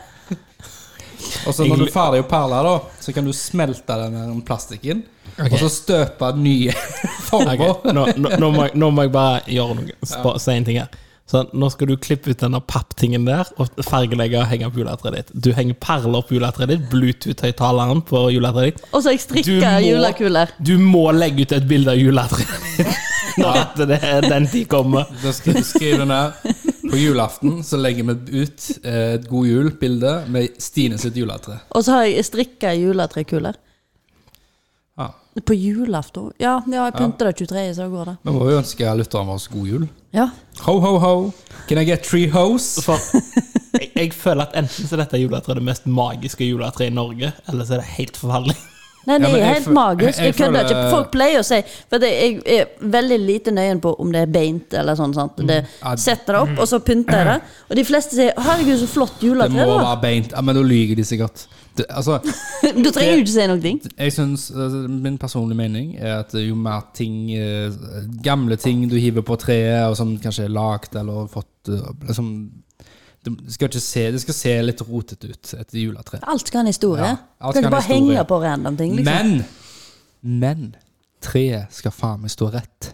Speaker 1: Og så når du er ferdig å perle, da, så kan du smelte den her plastikken. Og så støpe nye former.
Speaker 3: Ok, Nå, nå, nå, må jeg, nå må jeg bare gjøre noe, sp- si en ting her. Så nå skal du klippe ut denne papptingen der og fargelegge og henge opp juletreet ditt. Du henger perler opp juletreet ditt, Bluetooth-høyttaleren på juletreet ditt.
Speaker 2: Og så har jeg strikka julekuler.
Speaker 3: du må legge ut et bilde av juletreet ditt når at det er den tid kommer.
Speaker 1: Da skal du skrive den der. På julaften så legger vi ut eh, et God jul-bilde med Stine sitt juletre.
Speaker 2: Og så har jeg strikka juletrekuler.
Speaker 1: Ja.
Speaker 2: På julaften? Ja, ja jeg pynter det 23., så da går det.
Speaker 1: Vi må jo ønske lytterne våre god jul.
Speaker 2: Ja.
Speaker 1: Ho, ho, ho. Can I get three hoes?
Speaker 3: For jeg, jeg føler at enten så er dette juletreet det mest magiske juletreet i Norge, eller så er det helt forferdelig.
Speaker 2: Nei, det
Speaker 1: men
Speaker 2: er
Speaker 1: jeg
Speaker 2: helt
Speaker 1: føl-
Speaker 2: magisk. Jeg,
Speaker 1: jeg
Speaker 2: kødder
Speaker 1: føler-
Speaker 2: ikke. Folk pleier å si For det, jeg er veldig lite nøyen på om det er beint eller sånn. sant? Det
Speaker 1: Mm. Ja. mm.
Speaker 2: setter det opp, og så pynter jeg det. Og de fleste sier 'herregud, så flott
Speaker 1: Det må
Speaker 2: juletre'. det var».
Speaker 1: være beint. Ja, men da lyver de sikkert. Det, altså,
Speaker 2: Du trenger jo ikke si noen ting.
Speaker 1: jeg synes, altså, Min personlige mening er at jo mer ting eh, Gamle ting du hiver på treet, og som kanskje er lagd eller fått eh, liksom, det, skal ikke se, det skal se litt rotete ut, et juletre.
Speaker 2: Alt skal ha en historie.
Speaker 1: Ja,
Speaker 2: Du
Speaker 1: alt skal
Speaker 2: kan
Speaker 1: ha
Speaker 2: ikke
Speaker 1: en
Speaker 2: bare
Speaker 1: historie.
Speaker 2: henge på random ting. liksom.
Speaker 1: Men Men treet skal faen meg stå rett.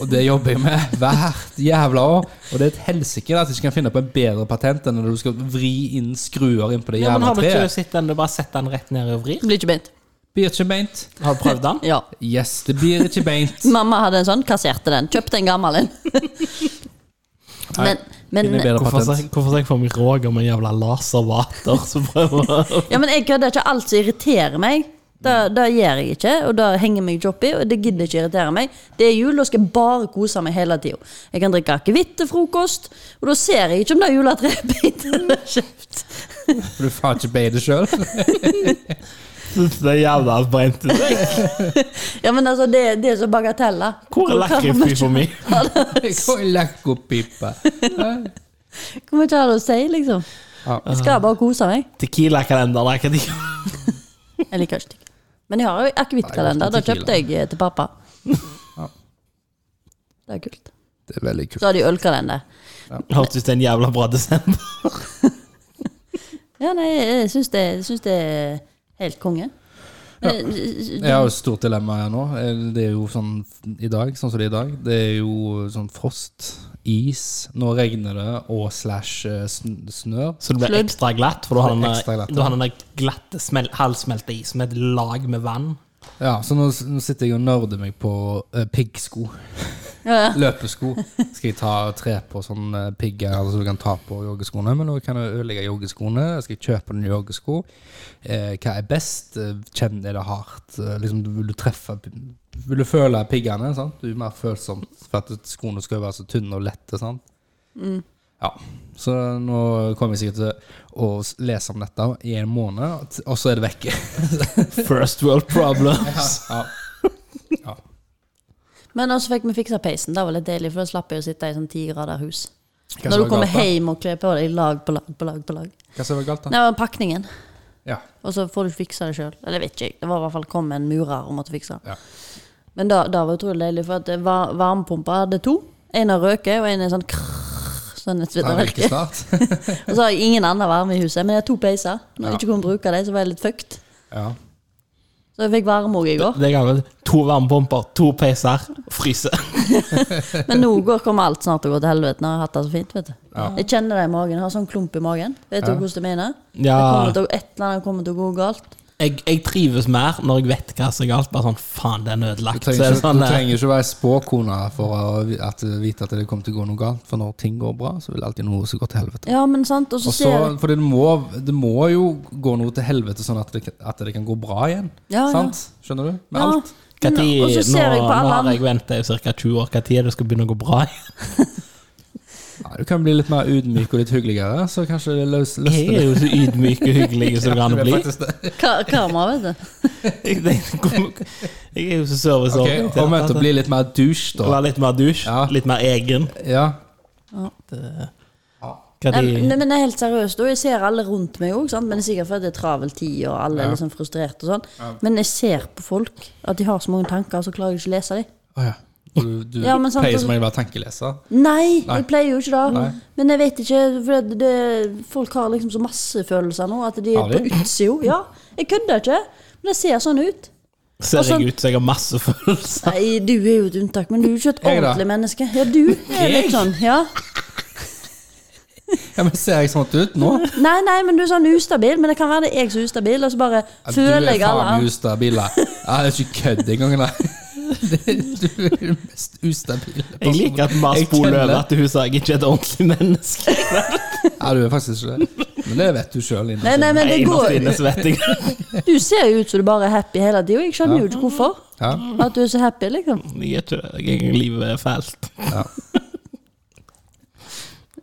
Speaker 1: Og det jobber jeg med hvert jævla år. Og det er et helsike at jeg ikke kan finne på en bedre patent enn når du skal vri inn skruer inn på det
Speaker 3: Ja, men
Speaker 1: jævla
Speaker 3: har du ikke
Speaker 1: treet.
Speaker 3: sett den, du bare setter den rett ned og vrir?
Speaker 2: Det blir ikke beint.
Speaker 1: Blir ikke beint.
Speaker 3: Har du prøvd den?
Speaker 2: Ja.
Speaker 1: Yes, det blir ikke beint.
Speaker 2: Mamma hadde en sånn, kasserte den. Kjøpte en gammel en. men, men,
Speaker 1: Finne bedre
Speaker 3: Hvorfor sa
Speaker 1: patent.
Speaker 3: jeg- hvorfor sa jeg for meg Roger med en jævla laservater som prøver å
Speaker 2: ja, men jeg kødder ikke. Alt som irriterer meg, det, det gjør jeg ikke. Og det henger meg ikke opp i, og det gidder ikke irritere meg. Det er jul, og skal jeg bare kose meg hele tida. Jeg kan drikke akevitt til frokost, og da ser jeg ikke om det juletreet er beint eller kjøpt.
Speaker 1: For du faen ikke beint det sjøl.
Speaker 3: synes det er jævla brent ut.
Speaker 2: Ja, men altså, det, det er så bagateller.
Speaker 3: Hvor er lakrispy for meg?
Speaker 1: Lekkerpipe.
Speaker 2: Kommer ikke her å si, liksom.
Speaker 1: Ja.
Speaker 2: Jeg skal bare kose meg.
Speaker 3: Tequila-kalenderen er ikke det.
Speaker 2: Jeg liker ikke tequila. Men jeg har jo
Speaker 1: Nei,
Speaker 2: akevittkalender. Da
Speaker 1: jeg har ikke
Speaker 2: kjøpte jeg eh, til pappa.
Speaker 1: Ja.
Speaker 2: Det er kult.
Speaker 1: Det er veldig kult.
Speaker 2: Så har de ølkalender.
Speaker 3: Hørtes ut som en jævla bra desember.
Speaker 2: Ja, nei, jeg syns det, jeg synes det er helt konge. Men,
Speaker 1: Jeg har jo et stort dilemma her nå. Det er jo sånn i dag, sånn som det er i dag. Det er jo sånn frost, is, nå regner det, og slash eh, sn- snør.
Speaker 3: Så det blir
Speaker 2: Sludd.
Speaker 3: ekstra glatt, for du har den
Speaker 1: Ekstra glatt,
Speaker 3: der-
Speaker 1: ja.
Speaker 3: du har den der glatte, smel- halvsmelte is med et lag med vann.
Speaker 1: Ja, så nå, nå sitter jeg og nerder meg på eh, piggsko.
Speaker 2: Ja, ja.
Speaker 1: Løpesko. Skal jeg ta tre på sånn eh, pigger altså, du kan ta på joggeskoene? Men nå kan jeg ødelegge joggeskoene. Skal jeg kjøpe nye joggesko? Eh, hva er best? Eh, Kjenn er det hardt? Eh, liksom, du vil du treffe Vil du føle piggene? Sant? Du er mer følsom for at skoene skal være så tynne og lette. Sant?
Speaker 2: Mm.
Speaker 1: Ja. Så nå kommer jeg sikkert til å s- lese om dette i en måned, og så er det vekke.
Speaker 3: First world problems.
Speaker 1: Ja. ja.
Speaker 2: Men også fikk vi fiksa peisen. Det var litt deilig, for da slapp jeg å sitte i sånn ti grader hus.
Speaker 1: Hva som
Speaker 2: Når
Speaker 1: var
Speaker 2: du kommer
Speaker 1: galt, da?
Speaker 2: hjem og kler på deg lag på lag på lag. på lag.
Speaker 1: Hva som var galt, da?
Speaker 2: Nei, det var pakningen,
Speaker 1: Ja.
Speaker 2: og så får du fiksa det sjøl. Eller vet ikke jeg. Det var i hvert fall kom en murer og måtte fikse det.
Speaker 1: Ja.
Speaker 2: Men da, da var det utrolig deilig, for at det var, varmepumpa hadde to. En har røket, og en er sånn krrr, sånn et
Speaker 1: Det er
Speaker 2: svitterverke.
Speaker 1: ikke snart.
Speaker 2: Og så har jeg ingen annen varme i huset, men jeg har to peiser. Når jeg
Speaker 1: Ja.
Speaker 2: ikke kunne bruke dem, så var jeg litt fucked.
Speaker 1: Ja.
Speaker 2: Så jeg fikk varme òg i går.
Speaker 3: Det er gammelt. To varmepumper, to peiser, fryse.
Speaker 2: Men nå går, kommer alt snart til å gå til helvete. Når jeg har hatt det så fint, vet du. Jeg kjenner det i magen. Jeg har sånn klump i magen. Vet du
Speaker 1: Ja.
Speaker 2: hvordan jeg mener? Det
Speaker 3: Ja.
Speaker 2: kommer til, å- et eller annet kommer til å gå galt.
Speaker 3: Jeg, jeg trives mer når jeg vet hva som er galt. Bare sånn faen, den
Speaker 1: Du
Speaker 3: er ødelagt. Så
Speaker 1: trenger,
Speaker 3: er det
Speaker 1: ikke,
Speaker 3: sånn,
Speaker 1: du
Speaker 3: eh,
Speaker 1: trenger ikke være spåkone for å vi- at du vite at det kommer til å gå noe galt. For når ting går bra, så vil alltid noe som går til helvete.
Speaker 2: Ja, men sant. Og så
Speaker 1: Og
Speaker 2: ser jeg
Speaker 1: så, for det må, det må jo gå noe til helvete sånn at det, kan- at det kan gå bra igjen.
Speaker 2: Ja, ja.
Speaker 1: Sant? Skjønner du? Med
Speaker 2: ja.
Speaker 1: alt.
Speaker 3: Hva tid,
Speaker 2: Og så ser
Speaker 3: nå,
Speaker 2: jeg på
Speaker 3: nå
Speaker 2: alle
Speaker 3: har
Speaker 2: andre.
Speaker 3: jeg venta i ca. 20 år. Når er det skal begynne å gå bra?
Speaker 1: Ja, du kan bli litt mer ydmyk og litt hyggeligere, så kanskje det løs,
Speaker 3: Jeg
Speaker 1: løsner
Speaker 3: er
Speaker 1: litt.
Speaker 3: jo så ydmyk og hyggelig som det kan
Speaker 1: Det er
Speaker 3: bli.
Speaker 1: faktisk det.
Speaker 2: ka- karma, vet du.
Speaker 3: Jeg Altså, er jo så
Speaker 1: Ok,
Speaker 3: serviceorientert.
Speaker 1: Om etter å bli litt mer douche,
Speaker 3: Å
Speaker 1: da.
Speaker 3: Være litt mer douche,
Speaker 1: Ja.
Speaker 3: litt mer egen.
Speaker 1: Ja.
Speaker 3: Hva
Speaker 2: Nei,
Speaker 3: de,
Speaker 2: men- men det er helt seriøst. Og jeg ser alle rundt meg òg, men det er sikkert fordi det er travel tid, og alle er liksom frustrert og sånn. Men jeg ser på folk at de har så mange tanker, og så klarer jeg ikke å lese dem.
Speaker 1: Å ja. Og Du, du
Speaker 2: Ja, men sant,
Speaker 1: pleier
Speaker 2: altså-
Speaker 1: som regel å være tenkeleser.
Speaker 2: Nei,
Speaker 1: Nei.
Speaker 2: jeg pleier jo ikke det.
Speaker 1: Nei.
Speaker 2: Men jeg vet ikke, for det, det, folk har liksom så masse følelser nå at de
Speaker 1: Har
Speaker 2: er
Speaker 1: de?
Speaker 2: på utsida. Ja, jeg kødder ikke, men det ser sånn ut.
Speaker 3: Ser
Speaker 2: Altså-
Speaker 3: jeg ut som jeg har masse følelser?
Speaker 2: Nei, du er jo et unntak, men du er jo ikke et
Speaker 1: Jeg da?
Speaker 2: ordentlig menneske. Ja, du er
Speaker 1: Jeg?
Speaker 2: litt sånn, ja.
Speaker 1: Ja, men Ser jeg sånn ut nå?
Speaker 2: Nei, nei, men du er sånn ustabil, men det kan være det er jeg som er ustabil, og så bare
Speaker 1: Ja,
Speaker 2: føler jeg
Speaker 1: Du er
Speaker 2: alle
Speaker 1: faen
Speaker 2: an-
Speaker 1: ustabil. da. Ja, det er ikke kødd engang, nei. Det- Du er den mest ustabile
Speaker 3: Jeg liker at Mars
Speaker 1: Jeg
Speaker 3: Bole
Speaker 1: kjenner-
Speaker 3: over at hun sa jeg ikke er et ordentlig menneske.
Speaker 1: Ja, du er faktisk ikke det. Men det vet du sjøl.
Speaker 2: Nei, nei, men det
Speaker 3: Innerst
Speaker 2: går
Speaker 3: inne så vet jeg
Speaker 2: Du ser jo ut som du bare er happy hele tida, jeg skjønner jo ikke hvorfor.
Speaker 1: Ja,
Speaker 2: At du er så happy, liksom.
Speaker 3: Jeg er ikke det. Jeg- Livet er fælt.
Speaker 1: ja.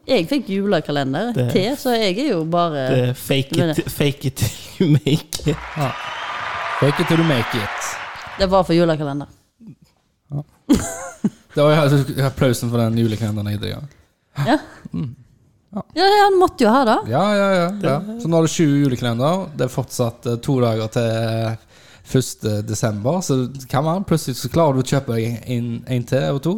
Speaker 2: Jeg fikk julekalender
Speaker 3: Det-
Speaker 2: til, så jeg er jo bare
Speaker 3: Det er fake it, fake it till you make it.
Speaker 1: ja. Fake it till you make it.
Speaker 2: Det var for julekalender.
Speaker 1: Det var jo applausen for den julekalenderen jeg driver.
Speaker 2: Ja.
Speaker 1: Mm.
Speaker 2: Ja, ja, han måtte jo ha det.
Speaker 1: Ja, ja, ja, ja. Så nå er det 20 julekalender. Det er fortsatt eh, to dager til eh, 1. desember. Så det kan man plutselig så klarer du å kjøpe deg en, en til og to.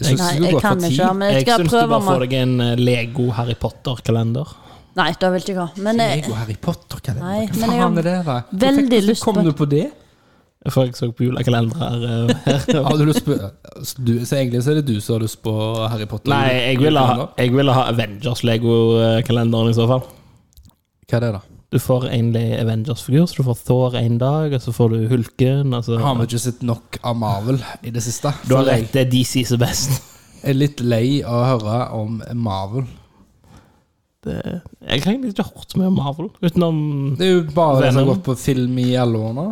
Speaker 1: Jeg synes
Speaker 2: Nei,
Speaker 1: du
Speaker 2: jeg
Speaker 1: går
Speaker 2: kan
Speaker 1: for ti.
Speaker 2: ikke, men jeg
Speaker 3: Jeg
Speaker 2: skal
Speaker 3: syns du
Speaker 2: prøve
Speaker 3: bare får
Speaker 2: meg.
Speaker 3: deg en eh, Lego Harry Potter-kalender.
Speaker 2: Nei, det vil ikke jeg ha. Men jeg,
Speaker 1: Lego Harry Potter-kalender,
Speaker 2: Nei,
Speaker 1: hva
Speaker 2: men jeg
Speaker 1: faen
Speaker 2: har
Speaker 1: er det? da?
Speaker 2: veldig
Speaker 1: Hvordan
Speaker 2: lyst
Speaker 1: Kom
Speaker 2: på-
Speaker 1: du på det?
Speaker 3: For jeg så på julekalendere eh, her.
Speaker 1: Hadde du lyst på du, Så egentlig så er det du som har lyst på Harry Potter?
Speaker 3: Nei, jeg ville ha, jeg ville ha Avengers-Lego-kalenderen i så fall.
Speaker 1: Hva er det, da?
Speaker 3: Du får en le- Avengers-figur, så du får Thor en dag, og så får du Hulken. Altså,
Speaker 1: Har vi ikke sett nok av Marvel i det siste?
Speaker 3: du har
Speaker 1: For
Speaker 3: rett, det er DC som er best.
Speaker 1: Jeg er litt lei av å høre om Marvel.
Speaker 3: Det, jeg har egentlig ikke hørt så mye om Marvel, utenom
Speaker 1: Det er jo bare det som har
Speaker 3: Venom.
Speaker 1: gått på film i alle år nå.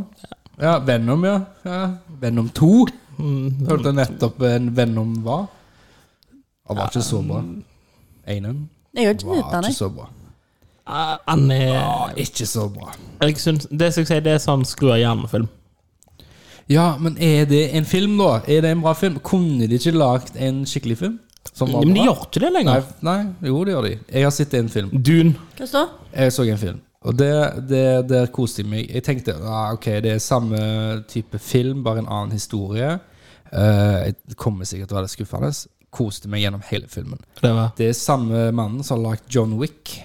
Speaker 1: Ja, Venom, ja. ja. Venom 2.
Speaker 3: mm,
Speaker 1: Hørte nettopp en Venom var. Han var ikke så bra. Einen
Speaker 2: jeg har ikke
Speaker 1: var
Speaker 2: nytt den,
Speaker 1: ikke
Speaker 2: jeg.
Speaker 1: så bra.
Speaker 3: ah, han er
Speaker 1: Var ikke så bra.
Speaker 3: jeg synes, Det skal jeg si, det er sånn skru av hjernen-film.
Speaker 1: Ja, men er det en film, da? Er det en bra film? Kunne de ikke lagd en skikkelig film? Som var
Speaker 3: Men de
Speaker 1: bra?
Speaker 3: gjør ikke det
Speaker 1: Nei,
Speaker 3: lenger.
Speaker 1: nei, jo, det gjør de. Jeg har sett en film.
Speaker 3: Dune.
Speaker 2: Hva står?
Speaker 1: Jeg så en film, og det, det, der koste jeg meg. Jeg tenkte ah, ok, det er samme type film, bare en annen historie. Eh, jeg kommer sikkert til å være litt skuffende. Koste meg gjennom hele filmen.
Speaker 3: Det var
Speaker 1: Det er samme mannen som har lagd John Wick.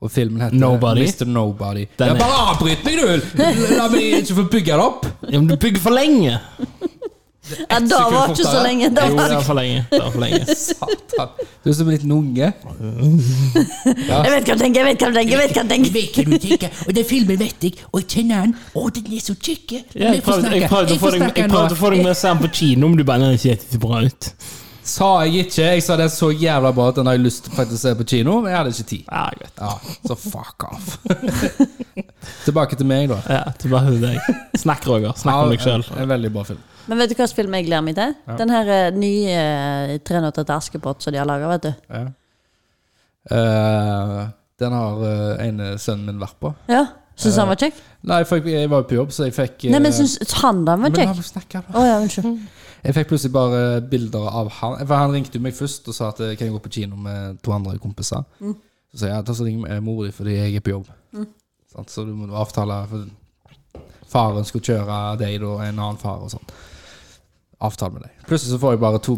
Speaker 1: Og filmen heter
Speaker 3: Nobody.
Speaker 1: Mr. Nobody. ja,
Speaker 3: Den er-
Speaker 1: bare avbryt meg, du! La meg ikke få bygge det opp!
Speaker 3: ja, Men du bygger for lenge!
Speaker 2: Ja, det var ikke så lenge. Det
Speaker 3: Jo,
Speaker 2: var.
Speaker 3: det er for lenge. Det er for lenge.
Speaker 1: Satan. Du er som en liten unge.
Speaker 2: Jeg vet hva du tenker, jeg vet hva du tenker, jeg vet hva du tenker.
Speaker 1: vet hva du tenker, og den filmen vet jeg, og jeg kjenner den. Å, den er så kjekk.
Speaker 3: Ja, jeg prøvde, jeg prøvde å få deg jeg prøvde å få deg med å se den på kino, men du bare «Nei, det ser ikke bra ut.
Speaker 1: Sa jeg ikke. Jeg sa den så jævla bra at den har jeg lyst til faktisk å se på kino, men jeg hadde ikke tid.
Speaker 3: Ja, greit.
Speaker 1: Ja, Så fuck off. Tilbake til meg, da.
Speaker 3: Ja, til bare deg. Snakk, Roger. Snakk om deg
Speaker 1: Ja, en,
Speaker 3: sjøl.
Speaker 1: en veldig bra film.
Speaker 2: Men vet du hva slags film jeg gleder meg til? Den her eh, nye eh, 'Tre nøtter til Askepott' som de har laga, vet du.
Speaker 1: Ja. Eh, den har eh, ene sønnen min vært på.
Speaker 2: Ja, Syns han var kjekk?
Speaker 1: Nei, for jeg, jeg var jo på jobb, så jeg fikk eh,
Speaker 2: Nei, men syns han den var
Speaker 1: Men la
Speaker 2: kjekk?
Speaker 1: meg snakke, da.
Speaker 2: Å ja, unnskyld.
Speaker 1: Jeg fikk plutselig bare bilder av han. For han ringte jo meg først og sa at eh, kan jeg gå på kino med to andre kompiser. Så sa jeg at så ringer jeg mor di fordi jeg er på jobb. Sant, Så du må avtale for Faren skulle kjøre deg da, en annen far og sånn. Avtale med deg. Plutselig så får jeg bare to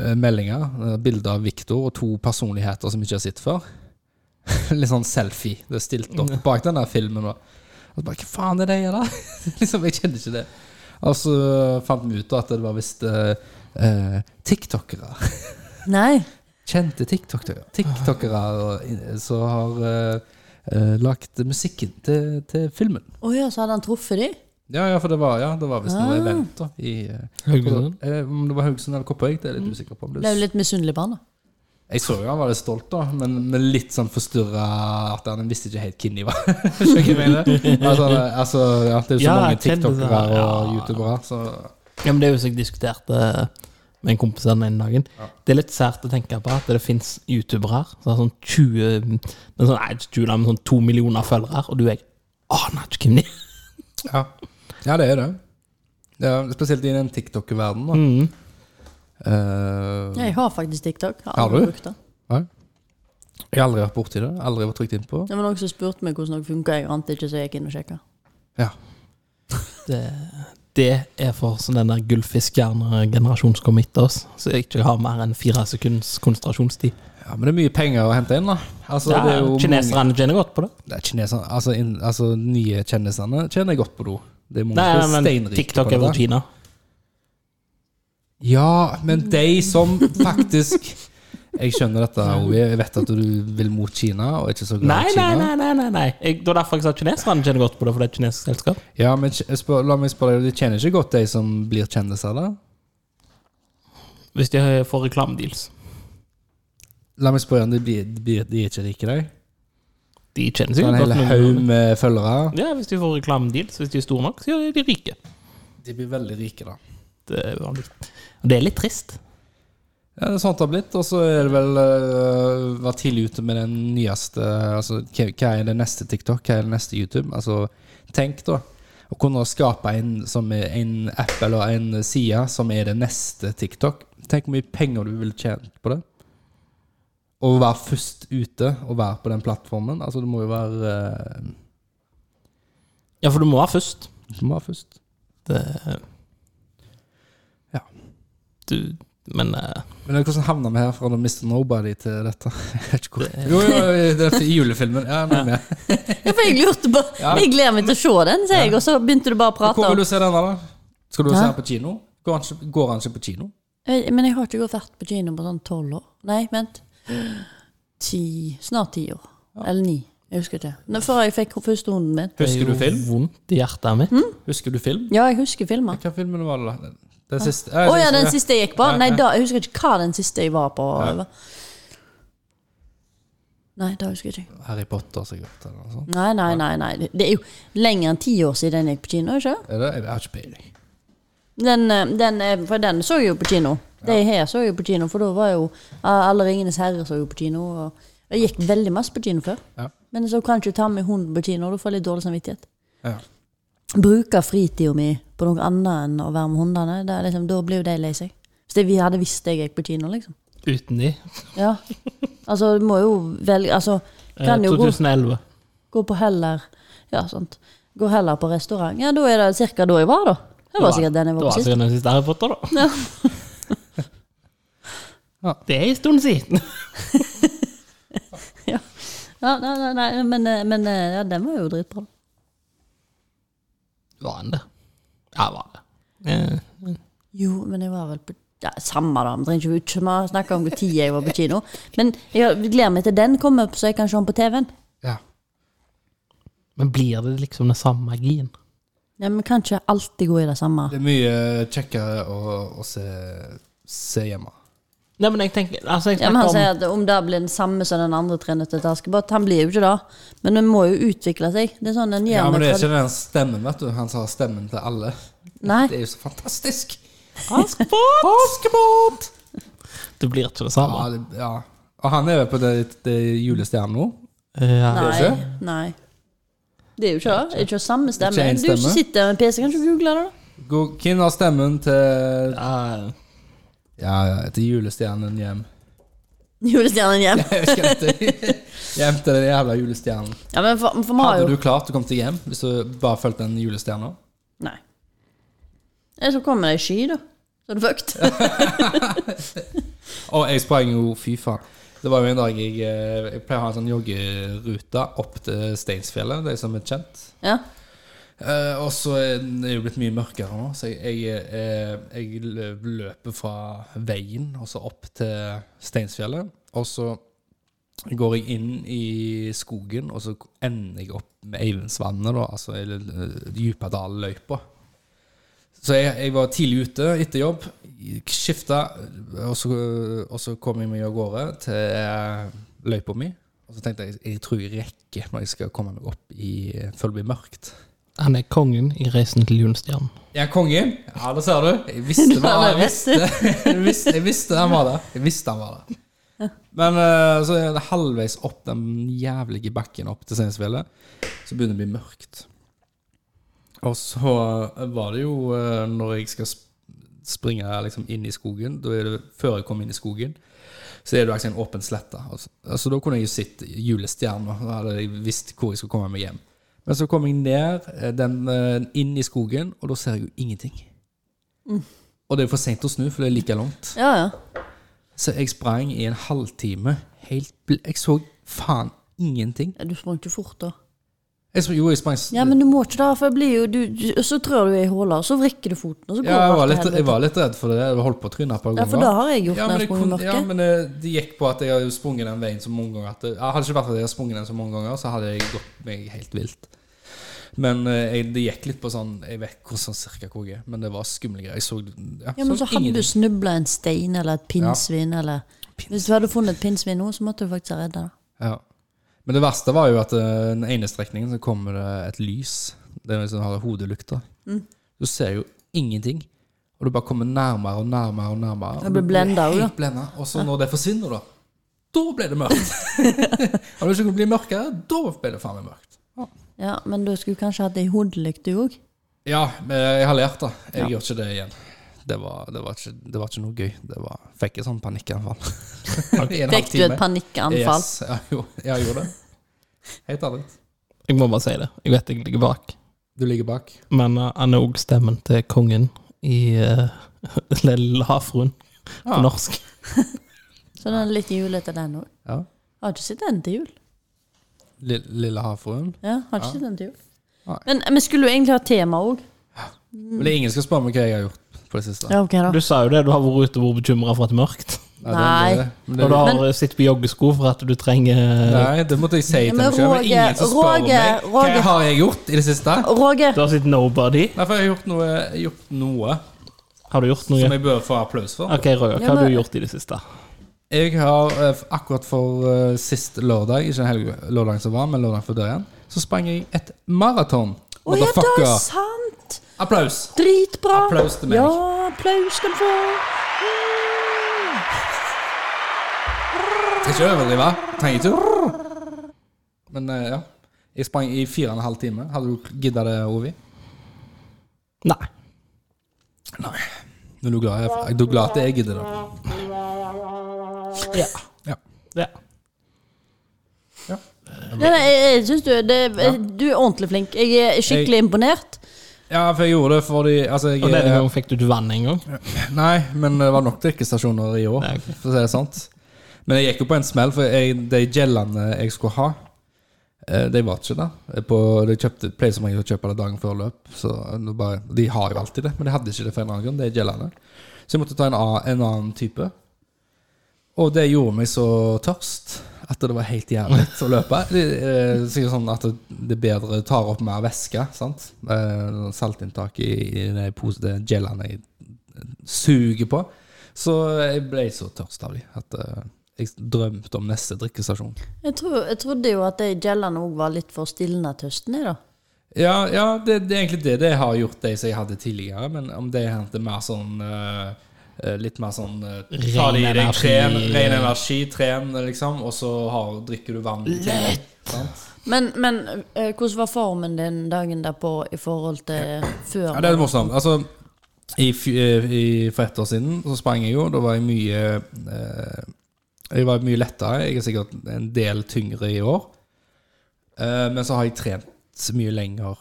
Speaker 1: eh, meldinger. eh, Bilder av Viktor og to personligheter som jeg ikke har sett før. Litt sånn selfie. Det er stilt opp bak den der filmen. Da. Og så bare, Hva faen er det jeg gjør da? liksom, jeg kjenner ikke det. Og så fant vi ut da at det var visst eh, eh, tiktokere.
Speaker 2: Nei.
Speaker 1: Kjente tiktokere. Tiktokere eh, som har eh, eh, lagt musikken til, til filmen.
Speaker 2: Å ja, så hadde han truffet de?
Speaker 1: Ja, ja, for det var, ja, det var visst noe event da. I, eh,
Speaker 3: Haugesund?
Speaker 1: eh, om det var Haugesund eller Kopervik, det er jeg litt usikker på. Men
Speaker 2: Ble jo
Speaker 1: Mm. det-
Speaker 2: litt misunnelig på han, da.
Speaker 1: Jeg så jo han var litt stolt, da, men, men litt sånn forstyrra at han visste ikke helt hvem de var. Skjønner du hva jeg mener? Altså, altså, ja, det er jo så
Speaker 3: Ja,
Speaker 1: mange
Speaker 3: jeg kjenner det.
Speaker 1: tiktokere og
Speaker 3: Ja.
Speaker 1: youtubere, så
Speaker 3: Ja, men det er jo som jeg diskuterte med en kompis her den ene dagen. Det er litt sært å tenke på at det fins youtubere her som har sånn 20 men sånn, Nei, ikke 20, da, men sånn 2 millioner følgere, og du jeg aner ikke hvem de er.
Speaker 1: Ja, ja det er det. Ja, spesielt i den TikTok-verdenen. da. Eh,
Speaker 2: Ja, Jeg har faktisk TikTok. Har
Speaker 1: Mm. Har
Speaker 2: aldri
Speaker 1: du?
Speaker 2: brukt det.
Speaker 1: nei. Jeg har aldri vært borti det. Aldri vært trykt innpå.
Speaker 2: Det var noen som spurte meg hvordan det funka, jeg ante ikke, så jeg gikk inn og sjekka.
Speaker 1: Ja.
Speaker 3: Det, det er for sånn den der gullfiskjernegenerasjonen som kommer etter oss, så jeg ikke har mer enn fire sekunds konsentrasjonstid.
Speaker 1: Ja, Men det er mye penger å hente inn, da. Altså,
Speaker 3: Ja,
Speaker 1: det er jo
Speaker 3: Kineserne tjener godt på det.
Speaker 1: Mange, det er kineserne, altså, inn, altså, nye kjendisene tjener godt på do. Det er mange
Speaker 3: Nei,
Speaker 1: som er
Speaker 3: men
Speaker 1: steinrike
Speaker 3: TikTok
Speaker 1: på
Speaker 3: er
Speaker 1: det.
Speaker 3: fra Kina.
Speaker 1: Ja, men de som faktisk Jeg skjønner dette, Ovi. Jeg vet at du vil mot Kina, og er ikke så glad
Speaker 3: Nei,
Speaker 1: i Kina.
Speaker 3: nei, nei. nei, nei, nei. Jeg, det var derfor jeg sa at kineserne tjener godt på det, for det er et kinesisk selskap.
Speaker 1: Ja, men kj- jeg spør, La meg spørre deg, du tjener ikke godt de som blir kjendiser, da?
Speaker 3: Hvis de får reklamedeals.
Speaker 1: La meg spørre om de, blir, de, blir, de er ikke rike, de?
Speaker 3: De tjener
Speaker 1: Så en
Speaker 3: sikkert
Speaker 1: hel
Speaker 3: godt.
Speaker 1: haug
Speaker 3: men-
Speaker 1: med følgere?
Speaker 3: Ja, Hvis de får reklamedeals, hvis de er store nok, så er de rike.
Speaker 1: De blir veldig rike, da.
Speaker 3: Det er vanlig. Og det er litt trist.
Speaker 1: Ja, det er sånt det har blitt. Og så er det vel uh, Var tidlig ute med den nyeste Altså, hva, hva er det neste TikTok? Hva er det neste YouTube? Altså, tenk, da. Å kunne skape en, som er en app eller en side som er det neste TikTok. Tenk hvor mye penger du ville tjent på det. Å være først ute og være på den plattformen. Altså, du må jo være uh,
Speaker 3: Ja, for du må være først.
Speaker 1: Du må være først.
Speaker 3: Det,
Speaker 1: Ja.
Speaker 3: Du, men eh,
Speaker 1: Men hvordan havna vi her fra da Mr. Nobody til dette? Jeg vet ikke hvor. Jo, jo, det er i julefilmen. Ja, nå er vi med.
Speaker 2: Ja, for jeg lurte på Jeg gleder meg til å se den, sier jeg, og så begynte du bare å prate
Speaker 1: Hvor vil
Speaker 2: om
Speaker 1: du se denne, da? Skal du
Speaker 2: Hæ?
Speaker 1: se den på kino? Går han, ikke, går han ikke på kino?
Speaker 2: Eh, Men jeg har ikke gått vært på kino på sånn tolv år. Nei, vent. Ti Snart ti år. Eller ni. Jeg husker ikke. Nå, Før jeg fikk første hunden min.
Speaker 3: det er
Speaker 1: Husker
Speaker 3: jo
Speaker 1: du film?
Speaker 3: Vondt i hjertet mitt.
Speaker 2: Mm.
Speaker 1: Husker du film?
Speaker 2: Ja, jeg husker filmer.
Speaker 1: Hva filmen var det? da? Den siste?
Speaker 2: Å ja, den siste jeg gikk på? Nei, da, jeg husker ikke hva den siste jeg var på. Nei, da husker jeg ikke.
Speaker 1: Harry Potter, sikkert. Eller noe sånt.
Speaker 2: Nei, nei, nei. nei. Det- Det er jo lenger enn ti år siden jeg gikk på kino, ikke
Speaker 1: Er det? Jeg har ikke peiling.
Speaker 2: den, eh, den, eh, For den så jeg jo på kino. De her så jeg jo på kino, for da var jo ah, alle Ringenes herre så jo på kino. Og jeg gikk veldig masse på kino før.
Speaker 1: Ja.
Speaker 2: Men så kan jeg ikke ta med hunden på kino, da får jeg litt dårlig samvittighet.
Speaker 1: Ja.
Speaker 2: Bruke fritida mi på noe annet enn å være med hundene, det er liksom, da blir jo de lei seg. Hvis det, vi hadde visst jeg gikk på kino, liksom.
Speaker 3: Uten de.
Speaker 2: Ja. Altså, du må jo velge Altså,
Speaker 3: Eh,
Speaker 2: kan jo gå,
Speaker 3: 2011.
Speaker 2: gå på heller Ja, sant. Gå heller på restaurant. Ja, da er det ca. da jeg var, da. Det var sikkert den jeg
Speaker 3: Det
Speaker 2: var på sist.
Speaker 3: sikkert den siste Harry Potter, da.
Speaker 1: Ja.
Speaker 3: Det er en stund siden.
Speaker 2: Ja, nei, nei, nei, men, eh, men eh, ja, den var jo dritbra.
Speaker 3: Var han det? Ja, var det. Eh,
Speaker 2: Jo, men jeg var vel på ja, Samme, da. Vi trenger ikke å snakke om hvor tid jeg var på kino. Men jeg gleder meg til den kommer, så jeg kan se den på TV-en.
Speaker 1: ja.
Speaker 3: Men blir det liksom den samme magien?
Speaker 2: Ja, men kan ikke alltid gå i det samme.
Speaker 1: Det er mye eh, kjekkere å, å se, se hjemme.
Speaker 3: Nei, men jeg tenker altså jeg
Speaker 2: Ja, men Han
Speaker 3: snakker om,
Speaker 2: sier at om det blir den samme som den andre trenete til Askepott Han blir jo ikke det. Men den må jo utvikle seg. Det er sånn den gjør
Speaker 1: Ja, men
Speaker 2: med
Speaker 1: det er
Speaker 2: fra-
Speaker 1: ikke den stemmen, vet du. Han sa stemmen til alle.
Speaker 2: Nei.
Speaker 1: Det er jo så fantastisk.
Speaker 3: Askepott!
Speaker 1: Askepott!
Speaker 3: Det blir ikke det samme.
Speaker 1: Ja, det, ja. Og han er jo på det, det julestjernen nå.
Speaker 3: Ja.
Speaker 1: det er
Speaker 2: Nei.
Speaker 1: ikke.
Speaker 2: Nei. Det er jo ikke det. Det er ikke samme stemme.
Speaker 1: Ikke en
Speaker 2: Du
Speaker 1: stemme.
Speaker 2: sitter med PC, kan ikke google det? da?
Speaker 1: Gå- Hvem har stemmen til
Speaker 3: Eh,
Speaker 1: Ja, ja, til julestjernen hjem?
Speaker 2: Julestjernen hjem.
Speaker 1: Jeg husker ikke. Hjem til den jævla julestjernen.
Speaker 2: Ja, men for, for vi har
Speaker 1: Hadde
Speaker 2: jo
Speaker 1: du klart å komme til hjem hvis du bare fulgte den julestjerna?
Speaker 2: Nei. Eller så kommer det ei sky, da. Så er du fucked.
Speaker 1: Og jeg sprang jo Fy faen. Det var jo en dag jeg, eh, jeg pleier å ha en sånn joggerute opp til Steinsfjellet, de som er kjent.
Speaker 2: Ja.
Speaker 1: Eh, og så er det jo blitt mye mørkere nå, så jeg, jeg, eh, jeg lø- løper fra veien og så opp til Steinsfjellet. Og så går jeg inn i skogen, og så ender jeg opp med Eivindsvannet, da, altså eller eh, Djupadalløypa. Så jeg, jeg var tidlig ute etter jobb, skifta, og, så- og så kom jeg meg av gårde til eh, løypa mi. Og så tenkte jeg jeg tror jeg rekker når jeg skal komme meg opp i før det blir mørkt.
Speaker 3: han er kongen i Reisen til julestjernen.
Speaker 1: Jeg er konge. Ja, det ser du. Jeg visste,
Speaker 2: Du
Speaker 1: hva,
Speaker 2: har
Speaker 1: jeg,
Speaker 2: det
Speaker 1: visste, jeg, visste, jeg visste han var der. Jeg visste han var der. Men eh, så er det halvveis opp den jævlige bakken opp til Steinsfjellet, så begynner det å bli mørkt. Og så var det jo eh, når jeg skal sp- springe liksom inn i skogen da er det, Før jeg kom inn i skogen, så er det jo faktisk en åpen slette. Altså, altså, da kunne jeg jo sett julestjerna, da hadde jeg visst hvor jeg skulle komme meg hjem. Men så kom jeg ned eh, den, eh, inn i skogen, og da ser jeg jo ingenting.
Speaker 2: Mm.
Speaker 1: Og det er jo for seint å snu, for det er like langt.
Speaker 2: Ja, ja.
Speaker 1: Så jeg sprang i en halvtime. Helt bl jeg så faen ingenting.
Speaker 2: Ja, Du sprang ikke fort, da.
Speaker 1: Jeg så, jo, jeg sprang s-
Speaker 2: Ja, men du må ikke det, for jeg blir jo, du, du, så trør du i huller, så vrikker du foten, og så går
Speaker 1: Ja, jeg
Speaker 2: alt
Speaker 1: var,
Speaker 2: til
Speaker 1: litt,
Speaker 2: helvete.
Speaker 1: jeg var litt redd for det. Jeg holdt på å tryne et par
Speaker 2: Ja,
Speaker 1: ganger.
Speaker 2: for det har jeg gjort
Speaker 1: Ja,
Speaker 2: når
Speaker 1: men,
Speaker 2: jeg
Speaker 1: det
Speaker 2: sprang i
Speaker 1: kunne,
Speaker 2: mørket.
Speaker 1: ja, men det, det gikk på at jeg hadde sprunget den veien så mange ganger. At det, jeg hadde ikke vært at jeg hadde sprunget den så mange ganger, så hadde jeg gått meg helt vilt. Men eh, jeg, det gikk litt på sånn Jeg vet hvor, sånn cirka hvor jeg er, men det var skumle greier. Jeg så, jeg
Speaker 2: Ja, men så hadde du
Speaker 1: sånn ingenting.
Speaker 2: snubla en stein eller et pinnsvin eller Hvis du hadde funnet et pinnsvin nå, så måtte du faktisk ha redda det.
Speaker 1: Ja. Men det verste var jo at eh, den ene strekningen så kommer det et lys. Det er sånn har hodelykter.
Speaker 2: Mm.
Speaker 1: Du ser jo ingenting. Og du bare kommer nærmere og nærmere. Og nærmere.
Speaker 2: Jeg ble blendet
Speaker 1: Og du
Speaker 2: også,
Speaker 1: helt blendet. Og så når det forsvinner, da, da ble det mørkt. Hadde det ikke kunnet bli mørkere, da ble det faen meg mørkt.
Speaker 2: Ja, men du skulle kanskje hatt ei hodelykt, du òg.
Speaker 1: Ja, men jeg har lært det. Jeg gjør ikke det igjen. Det var, det var, ikke, det var ikke noe gøy. Det var, fikk et sånn panikkanfall. I en
Speaker 2: Fikk du
Speaker 1: halvtime.
Speaker 2: et panikkanfall?
Speaker 1: Yes, jeg, gjorde- jeg gjorde det. Helt ærlig.
Speaker 3: Jeg må bare si det. Jeg vet jeg ligger bak.
Speaker 1: Du ligger bak.
Speaker 3: Men eh, han er òg stemmen til kongen i uh, Lille havfruen på
Speaker 1: Ja.
Speaker 3: norsk.
Speaker 2: Så den er litt julete, den òg.
Speaker 1: Ja.
Speaker 2: Har ikke sett den til jul.
Speaker 1: Lille, havfruen.
Speaker 2: Ja, har ikke sett den til jul.
Speaker 1: Nei.
Speaker 2: Men vi skulle jo egentlig ha tema òg.
Speaker 1: Men ingen skal spørre meg hva jeg har gjort på det siste.
Speaker 2: Ja, ok da.
Speaker 3: Du sa jo det, du har vært ute og vært bekymra for at det er mørkt.
Speaker 1: det-
Speaker 2: Nei.
Speaker 1: men
Speaker 3: Og du
Speaker 1: det,
Speaker 3: har eh, sittet på joggesko for at du trenger eh,
Speaker 1: nei, det måtte jeg si til
Speaker 2: men
Speaker 1: meg selv. Men
Speaker 2: Roger,
Speaker 1: ingen som spør
Speaker 2: Roger,
Speaker 1: meg
Speaker 2: Roger.
Speaker 1: hva har jeg gjort i det siste.
Speaker 2: Roger,
Speaker 3: Du har sittet nobody.
Speaker 1: Derfor har jeg gjort noe, gjort noe
Speaker 3: Har du gjort
Speaker 1: som
Speaker 3: noe?
Speaker 1: jeg bør få applaus for.
Speaker 3: Ok,
Speaker 2: Ja,
Speaker 3: Roger, hva har
Speaker 2: men-
Speaker 3: du gjort i det siste?
Speaker 1: Jeg har eh, f- akkurat for eh, sist lørdag, ikke helg, lørdagen som var, men lørdagen før det igjen, så sprang jeg et maraton.
Speaker 2: å ja, det er
Speaker 1: Motherfucker.
Speaker 2: sant!
Speaker 1: Applaus!
Speaker 2: Dritbra!
Speaker 1: Applaus til meg.
Speaker 2: Ja, applaus skal du få.
Speaker 1: Skal ikke overdrive. Trenger ikke Men eh, ja. Jeg sprang i fire og en halv time. Hadde du gidda det, Ovi?
Speaker 3: Nei.
Speaker 1: Nå er du glad, jeg, du er glad at jeg gidder det.
Speaker 3: Ja.
Speaker 1: Ja.
Speaker 3: ja.
Speaker 2: Nei, nei, jeg, jeg synes du, det, du er ordentlig flink. Jeg er skikkelig imponert.
Speaker 1: Ja, for jeg gjorde det fordi altså, jeg,
Speaker 3: Og denne gangen fikk du ikke vann engang.
Speaker 1: Nei, men det var nok drikkestasjoner i år,
Speaker 3: Nei, ok.
Speaker 1: for å si det sant. Men jeg gikk jo på en smell, for jeg, de gellene jeg skulle ha, eh, de var ikke der. På, de kjøpte, pleier som regel å kjøpe det dagen før løp, så nå bare, de har jo alltid det. Men de hadde ikke det for en eller annen grunn, de gellene. Så jeg måtte ta en, a- en annen type. Og det gjorde meg så tørst at det var helt jævlig å løpe. Det er sikkert sånn at det er bedre tar opp mer væske. sant? Eh, Saltinntak i, i de pos- de gelene jeg suger på. Så jeg ble så tørst av de at eh, jeg drømte om neste drikkestasjon.
Speaker 2: Jeg, tror, jeg trodde jo at de gellene òg var litt for stillende til høsten. jeg, da.
Speaker 1: Ja, ja det, det er egentlig det det har gjort, de som jeg hadde tidligere. Men om det hendte mer sånn eh, eh, Litt mer sånn eh, Ta det i deg,
Speaker 3: Ren
Speaker 1: tren,
Speaker 3: energi.
Speaker 1: ren energi, tren, liksom. Og så har, drikker du vann. Sant?
Speaker 2: Men, men eh, hvordan var formen din dagen derpå i forhold til før?
Speaker 1: Ja, det er morsomt. Altså, i, fj- eh, i, for ett år siden så sprang jeg jo. Da var jeg mye eh, Jeg var mye lettere. Jeg er sikkert en del tyngre i år. Eh, men så har jeg trent mye lenger.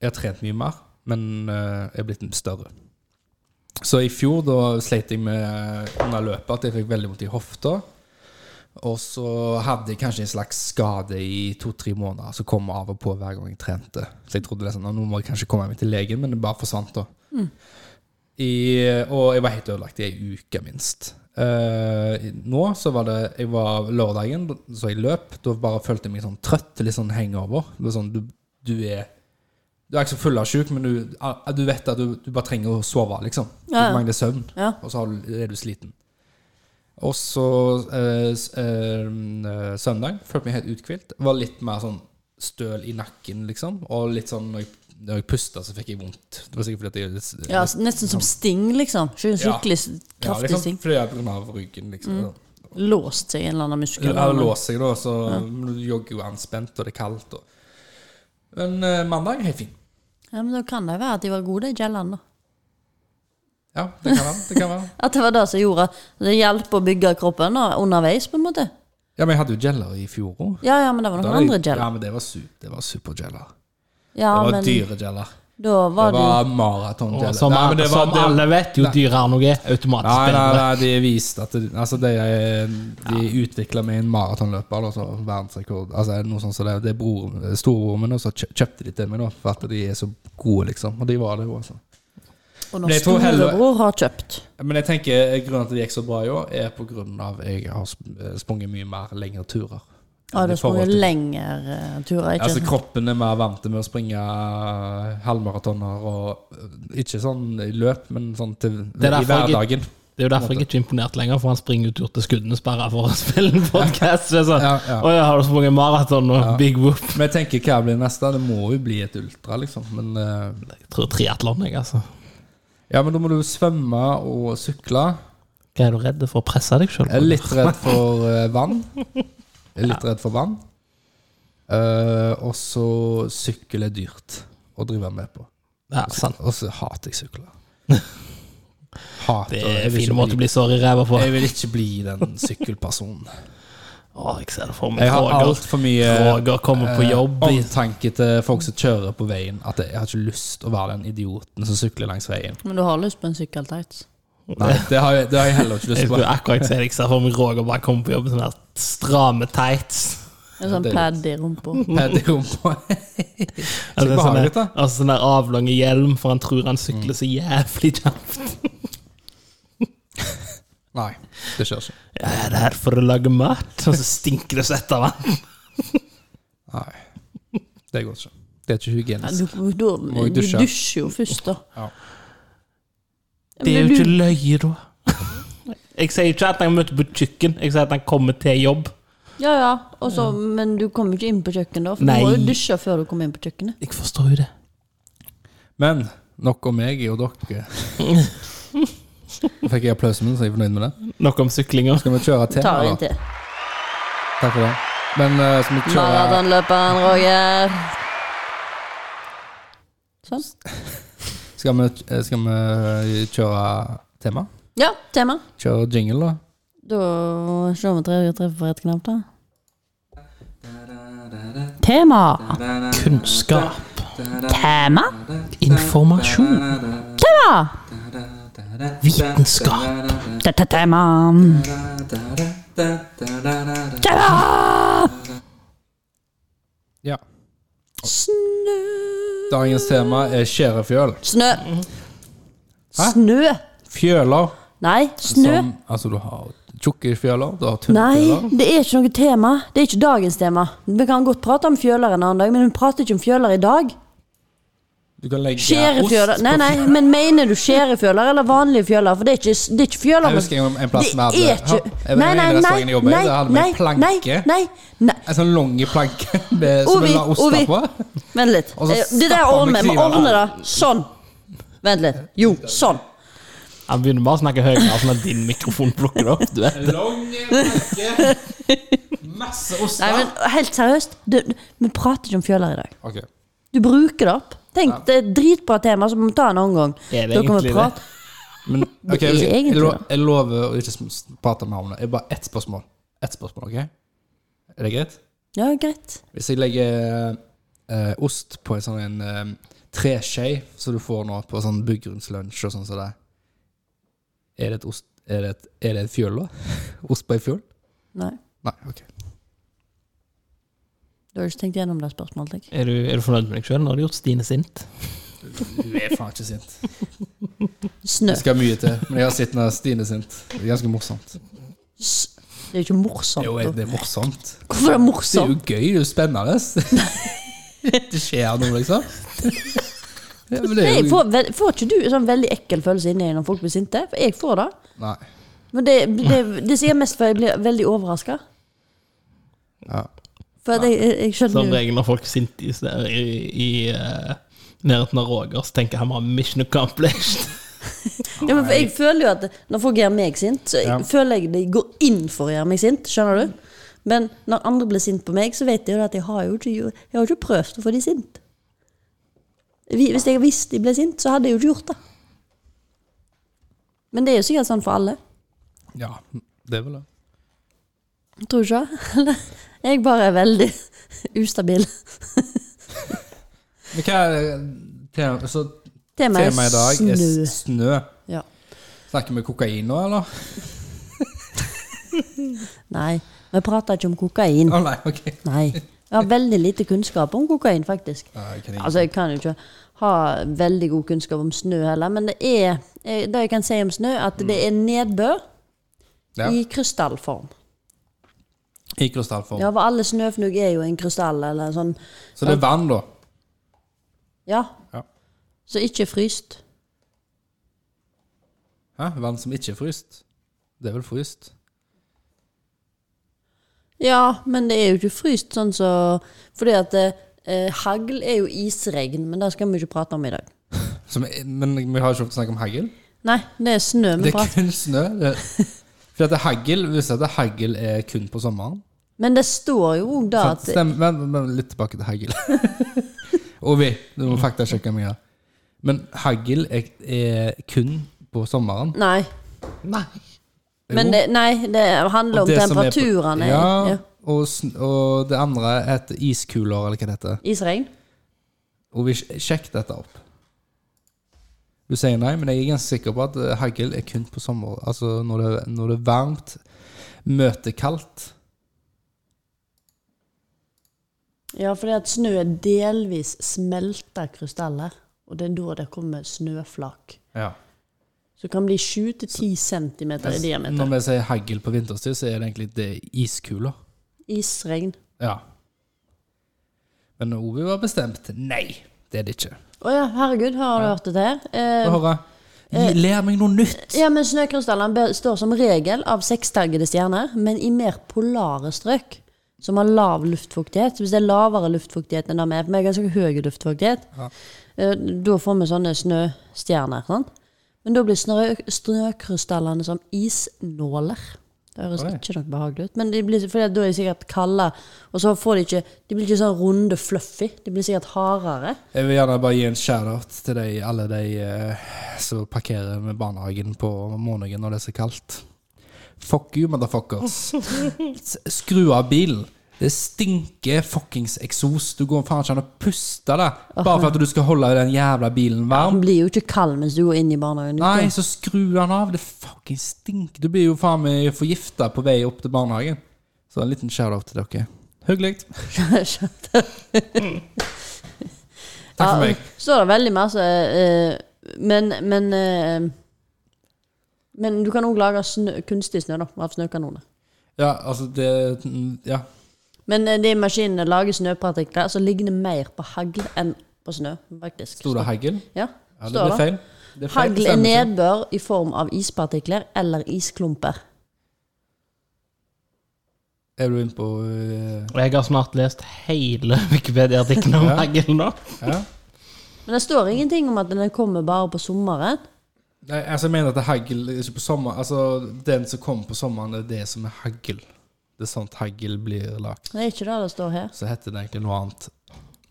Speaker 1: Jeg har trent mye mer, men eh, jeg er blitt større. Så i fjor da sleit jeg med under løpet at jeg fikk veldig vondt i hofta. Og så hadde jeg kanskje en slags skade i to-tre måneder som kom av og på hver gang jeg trente. Så jeg trodde det sånn, nå må jeg kanskje komme meg til legen, men det bare forsvant da.
Speaker 2: Mm.
Speaker 1: I, og jeg var helt ødelagt i ei uke, minst. Eh, nå så var det jeg var lørdagen, så jeg løp. Da bare følte jeg meg sånn trøtt, litt sånn hangover. Det var sånn, du, du er Du er ikke så fyllesyk, men du, du vet at du, du bare trenger å sove, liksom. Du
Speaker 2: Ja, ja.
Speaker 1: mangler søvn
Speaker 2: Ja.
Speaker 1: og så har du- er du sliten. Og så eh, s- eh, eh, søndag følte meg helt uthvilt. Var litt mer sånn støl i nakken, liksom. Og litt sånn når jeg, når jeg pusta, så fikk jeg vondt. Det var sikkert fordi at jeg litt,
Speaker 2: Ja, s- nesten som sting, liksom. Sk- Skikkelig s-
Speaker 1: Ja,
Speaker 2: kraftig Mm.
Speaker 1: liksom,
Speaker 2: sting.
Speaker 1: fordi jeg på grunn av ryggen, liksom.
Speaker 2: Låst seg i en eller annen muskel.
Speaker 1: Ja, det låser jeg, da. Så men du jogger jo anspent, og det er kaldt. Og. Men eh, mandag helt fin.
Speaker 2: Ja, men da kan det være at de var gode, de gellene. da.
Speaker 1: Ja, det kan være. Det kan være.
Speaker 2: At det var det som gjorde at det hjalp å bygge kroppen da, underveis, på en måte.
Speaker 1: Ja, men jeg hadde jo jeller i fjor òg.
Speaker 2: Ja, ja, men det var noen andre
Speaker 1: Ja,
Speaker 2: gjeller.
Speaker 1: men det var, su det var superjeller.
Speaker 2: Ja,
Speaker 1: Det var
Speaker 2: men
Speaker 1: dyre jeller.
Speaker 2: da
Speaker 1: Det
Speaker 2: var det
Speaker 1: var maratonjeller.
Speaker 3: Og som
Speaker 1: Nei, men det var-
Speaker 3: som
Speaker 1: det-
Speaker 3: alle vet, jo dyrere noe er, automatisk
Speaker 1: Nei, nei,
Speaker 3: bedre.
Speaker 1: nei, de viste at det- altså, De, de utvikla med en maratonløper, da, så verdensrekord altså, Noe sånn som det, det er broren, det er storebroren min, og så kjø- kjøpte de til meg, da, for at de er så gode, liksom. Og de var det jo, altså.
Speaker 2: Og
Speaker 1: Men
Speaker 2: når
Speaker 1: jeg tror heller-
Speaker 2: storebror har kjøpt.
Speaker 1: Men jeg tenker eh, grunnen til at det gikk så bra i år, er på grunn av jeg har sp- eh, sprunget mye mer lengre turer.
Speaker 2: Ja, det
Speaker 1: I forhold
Speaker 2: sprang
Speaker 1: til-
Speaker 2: lengre eh, turer,
Speaker 1: Altså
Speaker 2: ikke
Speaker 1: Kroppen er mer vant til med å springe eh, halvmaratoner og eh, Ikke sånn i løp, men sånn til,
Speaker 3: Det er
Speaker 1: i
Speaker 3: derfor jeg-
Speaker 1: hverdagen.
Speaker 3: Det er jo derfor jeg er ikke er imponert lenger, for han springer jo tur til skuddene sperra for å spille en podkast. Sånn.
Speaker 1: Ja, ja.
Speaker 3: Å ja, har du sprunget maraton og big whoop?
Speaker 1: Men jeg tenker hva blir neste? Det må jo bli et ultra, liksom. Men eh,
Speaker 3: Jeg tror triatlon, jeg, altså.
Speaker 1: Ja, men da må du svømme og sykle.
Speaker 3: Hva er du redd for å presse deg sjøl?
Speaker 1: Jeg er litt redd for eh, vann. Jeg er litt redd for vann. Eh, og så sykkel er dyrt å drive med på.
Speaker 3: Ja, sant.
Speaker 1: Og så hater jeg sykler. Hater
Speaker 3: Det
Speaker 1: jeg
Speaker 3: er en
Speaker 1: vil
Speaker 3: fin
Speaker 1: ikke
Speaker 3: måte å
Speaker 1: bli-
Speaker 3: bli sår i ræva på.
Speaker 1: Jeg vil ikke bli den sykkelpersonen.
Speaker 3: Å, jeg ser det for meg.
Speaker 1: Jeg har
Speaker 3: Roger,
Speaker 1: altfor mye
Speaker 3: Roger kommer på
Speaker 1: eh,
Speaker 3: jobb i
Speaker 1: omtanke til folk som kjører på veien. At jeg har ikke lyst til å være den idioten som sykler langs veien.
Speaker 2: sant? Men du har lyst på en sykkeltights?
Speaker 1: Nei, det har jeg, det har jeg heller ikke
Speaker 3: Jeg
Speaker 1: lyst
Speaker 3: skulle
Speaker 1: på.
Speaker 3: akkurat si det, jeg ser for meg Roger bare kommer på jobb med sånne her stramme tights.
Speaker 2: En sånn
Speaker 1: det er
Speaker 2: pad i rumpa?
Speaker 1: Pad i rumpa.
Speaker 3: Altså,
Speaker 1: Så
Speaker 3: sånne,
Speaker 1: behagelig, da. Mm.
Speaker 3: altså sånn der avlange hjelm, for han tror han sykler så jævlig kjapt.
Speaker 1: Nei, det skjer ikke.
Speaker 3: Ja, jeg er her for å lage mat, og så stinker det søtt av han.
Speaker 1: Nei. Det går ikke. Det er ikke
Speaker 2: Ja,
Speaker 1: hygienisk.
Speaker 2: du, du,
Speaker 1: Må jeg
Speaker 2: du
Speaker 1: dusje?
Speaker 2: dusjer jo først, da.
Speaker 1: Ja.
Speaker 2: Men
Speaker 3: Det er jo
Speaker 2: du-
Speaker 3: ikke løye, da. Jeg sier ikke at han møter på kjøkken, jeg sier at han kommer til jobb.
Speaker 2: Ja, ja. Og så- men du kommer jo ikke inn på kjøkkenet, da. For
Speaker 3: Nei.
Speaker 2: du må jo dusje før du kommer inn på kjøkkenet.
Speaker 3: Jeg forstår jo det.
Speaker 1: Men nok om meg og dere. Fikk jeg applausen min, så er jeg fornøyd med det.
Speaker 3: Nok om syklinger.
Speaker 1: Skal vi kjøre til?
Speaker 2: Ta en
Speaker 1: eller?
Speaker 2: til.
Speaker 1: Takk for det. Men eh, skal vi kjøre
Speaker 2: Maratonløperen Roger. Sånn.
Speaker 1: Skal vi, eh, skal vi kjøre tema?
Speaker 2: Ja, tema.
Speaker 1: Kjøre jingle, da?
Speaker 2: Da ser vi om vi treffer- treffer på rett knapp, da. Tema.
Speaker 3: Kunnskap.
Speaker 2: Tema.
Speaker 3: Informasjon.
Speaker 2: Tema.
Speaker 3: Vitenskap.
Speaker 2: Dette temaet. Tema!
Speaker 1: Ja.
Speaker 2: Snø.
Speaker 1: Dagens tema er skjærefjøl.
Speaker 2: Snø.
Speaker 1: Hæ?
Speaker 2: Snø.
Speaker 1: Fjøler
Speaker 2: Nei, snø.
Speaker 1: som Altså, du har tjukke fjøler, du har tynne
Speaker 2: Nei,
Speaker 1: fjøler.
Speaker 2: det er ikke noe tema. Det er ikke dagens tema. Vi kan godt prate om fjøler en annen dag, men vi prater ikke om fjøler i dag.
Speaker 1: Du kan legge
Speaker 2: Skjærefjøler.
Speaker 1: ost
Speaker 2: Nei,
Speaker 1: på
Speaker 2: nei, men mener du skjærefjøler eller vanlige fjøler? For det er ikke, det er ikke fjøler
Speaker 1: Jeg husker en- en plass vi hadde-
Speaker 2: Det er ikke
Speaker 1: Hør, jeg mener, en av restaurantene jeg jobbet i, der hadde vi en planke.
Speaker 2: Nei, nei, nei.
Speaker 1: En sånn lang planke med, som
Speaker 2: Ovi,
Speaker 1: vi la ost
Speaker 2: Ovi.
Speaker 1: på.
Speaker 2: Vent litt.
Speaker 1: Og så
Speaker 2: Eh, Det
Speaker 1: stapper
Speaker 2: der
Speaker 1: han med
Speaker 2: ordner vi. Vi
Speaker 1: kniven.
Speaker 2: ordner det sånn. Vent litt. Jo, sånn.
Speaker 3: Han begynner bare å snakke høyere, sånn at din mikrofon plukker det opp. Du vet.
Speaker 1: Lang planke. Masse
Speaker 2: Nei,
Speaker 1: oster.
Speaker 2: men Ah, helt seriøst, du, du- vi prater ikke om fjøler i dag.
Speaker 1: Ok.
Speaker 2: Du bruker det opp. Tenk, det er et dritbra tema, så må vi ta en annen gang.
Speaker 3: Er det
Speaker 2: Da kan vi
Speaker 3: egentlig det?
Speaker 2: prate-
Speaker 1: Men ok,
Speaker 2: er
Speaker 1: hvis jeg, jeg,
Speaker 2: egentlig
Speaker 1: lo,
Speaker 2: det.
Speaker 1: jeg lover å ikke sm- s- prate mer om det. Jeg bare ett spørsmål. Ett spørsmål, ok? Er det greit?
Speaker 2: Ja, greit.
Speaker 1: Hvis jeg legger eh, ost på en sånn en eh, treskje som du får nå på sånn byggrunnslunsj og sånn som det, er det et ost... Er det et, er det et fjøl, da? Ost på ei fjøl?
Speaker 2: Nei,
Speaker 1: Nei, ok.
Speaker 2: du har ikke tenkt gjennom det spørsmålet. tenker jeg.
Speaker 3: Er du, er du fornøyd med deg sjøl? Nå har du gjort Stine sint.
Speaker 1: Du er faen ikke sint.
Speaker 2: Snø.
Speaker 1: Det skal mye til. Men jeg har sett når Stine er sint. Det er ganske morsomt.
Speaker 2: S- Det er jo ikke morsomt.
Speaker 1: Jo,
Speaker 2: da.
Speaker 1: det er morsomt. Det
Speaker 2: Hvorfor er det
Speaker 1: er
Speaker 2: morsomt?
Speaker 1: jo gøy, det er jo spennende. det skjer noe, liksom. Ja, men det
Speaker 2: Nei,
Speaker 1: er jo
Speaker 2: får, vel- får ikke du en sånn veldig ekkel følelse inni deg når folk blir sinte? For jeg får det.
Speaker 1: Nei.
Speaker 2: Men det, det, det sier jeg mest for jeg blir veldig overraska.
Speaker 1: Ja.
Speaker 2: For at jeg, jeg, jeg
Speaker 3: Som
Speaker 2: skjønner jo
Speaker 3: regel når folk er sinte i, sted- i, i eh, nærheten av Roger, så tenker jeg han har mission accomplished.
Speaker 2: ja, men for Jeg føler jo at når folk gjør meg sint, så jeg,
Speaker 1: Ja.
Speaker 2: føler jeg de går inn for å gjøre meg sint. Skjønner du? Men når andre blir sint på meg, så vet jeg jo at jeg har jo ikke, jeg har jo ikke prøvd å få de sint. Vi- Hvis jeg visste de ble sint, så hadde jeg jo ikke gjort det. Men det er jo sikkert sånn for alle.
Speaker 1: ja, det er vel det.
Speaker 2: Tror du ikke det? Eller? Jeg bare er veldig ustabil.
Speaker 1: Men hva er tema, så,
Speaker 2: Temaet
Speaker 1: temaet i dag?
Speaker 2: er
Speaker 1: Er
Speaker 2: snø.
Speaker 1: s- snø.
Speaker 2: Ja.
Speaker 1: Snakker vi kokain nå, eller?
Speaker 2: Nei, vi prater ikke om kokain.
Speaker 1: Å nei, ok.
Speaker 2: Nei. Jeg har veldig lite kunnskap om kokain, faktisk.
Speaker 1: Nei, jeg kan ikke.
Speaker 2: Altså, jeg kan jo ikke ha veldig god kunnskap om snø heller, men det er eh, Det jeg kan si om snø, at det er nedbør
Speaker 1: Ja.
Speaker 2: i krystallform.
Speaker 1: I krystallform.
Speaker 2: Ja, for alle snøfnugg er jo en krystall eller en sånn.
Speaker 1: Så det er vann, da.
Speaker 2: Ja.
Speaker 1: Ja.
Speaker 2: Så ikke fryst.
Speaker 1: Hæ? Vann som ikke er fryst. Det er vel fryst?
Speaker 2: Ja, men det er jo ikke fryst sånn så Fordi at eh, hagl er jo isregn, men det skal vi ikke prate om i dag.
Speaker 1: Så vi, men vi har ikke lov til å snakke om hagl.
Speaker 2: Nei, det er snø vi
Speaker 1: Det er
Speaker 2: prater om.
Speaker 1: kun snø. Det. For at hagl viser at hagl er kun på sommeren.
Speaker 2: Men det står jo òg da
Speaker 1: Sant?
Speaker 2: at
Speaker 1: Stem, men, men litt tilbake til hagl. Ovi, du må faktasjekke meg her. Men hagl er, er kun på sommeren.
Speaker 2: Nei.
Speaker 3: Nei.
Speaker 2: Men det, nei, det handler
Speaker 1: Og
Speaker 2: om
Speaker 1: det som er på-
Speaker 2: temperaturene.
Speaker 1: Ja,
Speaker 2: Ja.
Speaker 1: Og, sn- og det andre heter iskuler, eller hva det heter.
Speaker 2: Isregn?
Speaker 1: Og vi sj- sjekk dette opp. Du sier nei, men jeg er ganske sikker på at eh, hagl er kun på sommer. Altså når det, når det er varmt, møter kaldt.
Speaker 2: Ja, fordi at snø delvis smelter krystaller. Og det er da det kommer snøflak. Så det kan bli 7-10 cm i
Speaker 1: Når
Speaker 2: diameter.
Speaker 1: vi sier hagl på vinterstid, så er det egentlig det er iskuler.
Speaker 2: Isregn.
Speaker 1: Ja. Men Ovi var bestemt. Nei, det er det ikke.
Speaker 2: Å ja, herregud, har du hørt dette her?
Speaker 1: Få
Speaker 2: Eh,
Speaker 1: høre. Gi- Lær meg noe nytt!
Speaker 2: ja, men Snøkrystallene består som regel av sekstaggede stjerner, men i mer polare strøk. Som har lav luftfuktighet. Så Hvis det er lavere luftfuktighet enn det vi er, for vi har ganske høy luftfuktighet,
Speaker 1: Ja.
Speaker 2: eh, da får vi sånne snøstjerner. Sant? Men da blir snø, snøkrystallene som isnåler. Det høres
Speaker 1: Oi.
Speaker 2: ikke noe behagelig ut, men de blir, fordi at da er de sikkert kalde. Og så får de ikke De blir ikke sånn runde fluffy, de blir sikkert hardere.
Speaker 1: Jeg vil gjerne bare gi en shout-out til de, alle de eh, som parkerer med barnehagen på morgenen når det er så kaldt. Fuck you, motherfuckers. S- Skru av bilen. Det stinker fuckings eksos. Du går faen ikke an å puste det. Bare for at du skal holde den jævla bilen varm.
Speaker 2: Den blir jo ikke kald mens du går inn i barnehagen. Du
Speaker 1: Nei,
Speaker 2: kan-
Speaker 1: så skru den av. Det fucking stinker. Du blir jo faen meg forgifta på vei opp til barnehagen. Så en liten shout-out til dere. Hyggelig. Takk for meg.
Speaker 2: Så er det veldig masse eh, Men, men eh, Men du kan òg lage snø, kunstig snø da, av snøkanoner.
Speaker 1: Ja, altså det Ja.
Speaker 2: Men eh, de maskinene lager snøpartikler som ligner mer på hagl enn på snø, faktisk.
Speaker 1: Sto det hagl?
Speaker 2: Ja,
Speaker 1: Ja, det
Speaker 2: står
Speaker 1: ble
Speaker 2: det.
Speaker 1: feil. Det er feil,
Speaker 2: Hagl er
Speaker 1: stemmer ikke.
Speaker 2: nedbør i form av ispartikler eller isklumper.
Speaker 1: Er du inne på eh,
Speaker 3: Og jeg har snart lest hele Wikipedia-artikkelen om
Speaker 1: Ja.
Speaker 3: hagl nå.
Speaker 1: Ja?
Speaker 2: Men det står ingenting om at den kommer bare på sommeren.
Speaker 1: Nei, altså, jeg mener at det er hagl er ikke på sommer Altså, den som kommer på sommeren, det er det som er hagl. Det er sånt hagl blir lagt.
Speaker 2: Det er ikke det det står her.
Speaker 1: Så heter det egentlig noe annet.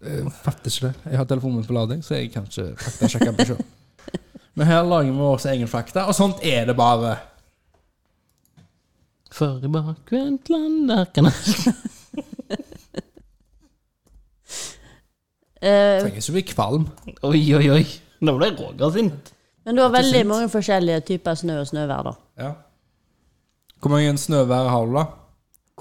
Speaker 1: Jeg fatter Eh, ikke det. Jeg har telefonen min på lading, så jeg kan ikke faktasjekke den selv. Men her lager vi også egen fakta, og sånt er det bare.
Speaker 3: For i bakvendtland der kan jeg
Speaker 2: Eh,
Speaker 1: Trenger ikke bli kvalm.
Speaker 3: Oi, oi, oi. Nå ble Roger sint.
Speaker 2: men du har veldig mange forskjellige typer snø og snøvær, da.
Speaker 1: Ja. Hvor mange snøvær har du, da?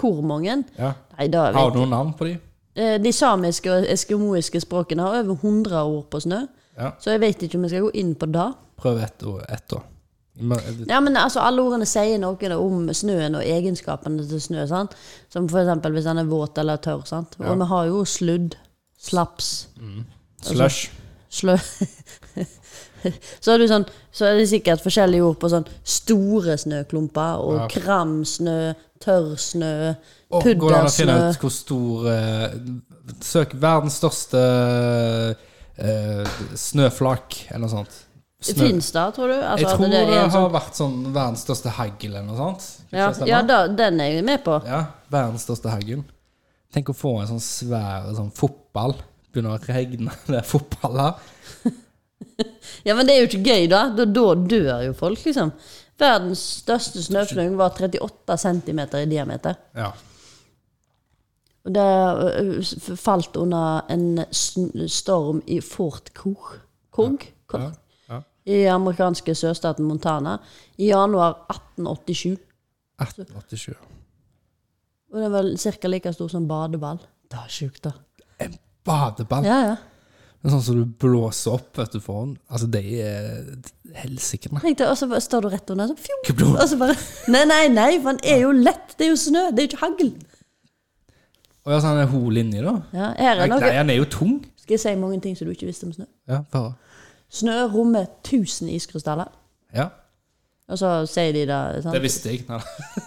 Speaker 2: Hvor mange?
Speaker 1: Ja.
Speaker 2: Nei, da vet
Speaker 1: Har du noen navn på de?
Speaker 2: Eh, De samiske og eskimoiske språkene har over 100 ord på snø,
Speaker 1: Ja.
Speaker 2: så jeg vet ikke om jeg skal gå inn på det.
Speaker 1: Prøv ett og ett, da. Men-
Speaker 2: Ja, men altså, Alle ordene sier noe om snøen og egenskapene til snø. sant? Som for eksempel hvis den er våt eller tørr. sant? Og vi har jo sludd, slaps,
Speaker 1: Slush.
Speaker 2: slø... så, er det jo sånn, så er det sikkert forskjellige ord på sånn store snøklumper og
Speaker 1: Ja.
Speaker 2: kramsnø, tørr snø,
Speaker 1: Og går det an å finne
Speaker 2: puddersnø
Speaker 1: ut hvor stor eh, Søk verdens største eh, snøflak, eller noe sånt. Snø-
Speaker 2: Fins det, tror du? Altså,
Speaker 1: Jeg
Speaker 2: at
Speaker 1: tror det,
Speaker 2: er en sånn-
Speaker 1: har vært sånn verdens største hagl eller noe sånt. Kan
Speaker 2: Ja,
Speaker 1: ikke det stemme?
Speaker 2: ja da, den er jeg med på.
Speaker 1: ja, verdens største hagl. Tenk å få en sånn svær sånn fotball. Begynner å regne det er fotballer.
Speaker 2: Ja, men det er jo ikke gøy, da. Da, da dør jo folk, liksom. Verdens største snøfnugg var 38 cm i diameter.
Speaker 1: Ja.
Speaker 2: Og det ø, f- falt under en sn- storm i Fort Cook, Cook,
Speaker 1: ja.
Speaker 2: Cook
Speaker 1: ja.
Speaker 2: i amerikanske sørstaten Montana i januar 1887.
Speaker 1: 1887.
Speaker 2: Og den var ca. like stor som badeball. Det er sjukt, da.
Speaker 1: Badeball!
Speaker 2: Ja, ja.
Speaker 1: Det er sånn som du blåser opp vet du, foran. Altså, de er helsike, nei.
Speaker 2: Tenkte, og så bare står du rett under, så fjong,
Speaker 1: Kablom.
Speaker 2: og så bare Nei, nei, nei, for den er jo lett. Det er jo snø, det er jo ikke hagl.
Speaker 1: Og ja, sånn er hun linje, da.
Speaker 2: Ja, her
Speaker 1: Nei,
Speaker 2: er noe.
Speaker 1: nei, han er jo tung.
Speaker 2: Skal jeg si mange ting som du ikke visste om snø?
Speaker 1: Ja, bare.
Speaker 2: Snø rommer 1000 iskrystaller.
Speaker 1: Ja.
Speaker 2: Og så sier de da sant?
Speaker 1: Det visste jeg. Nei.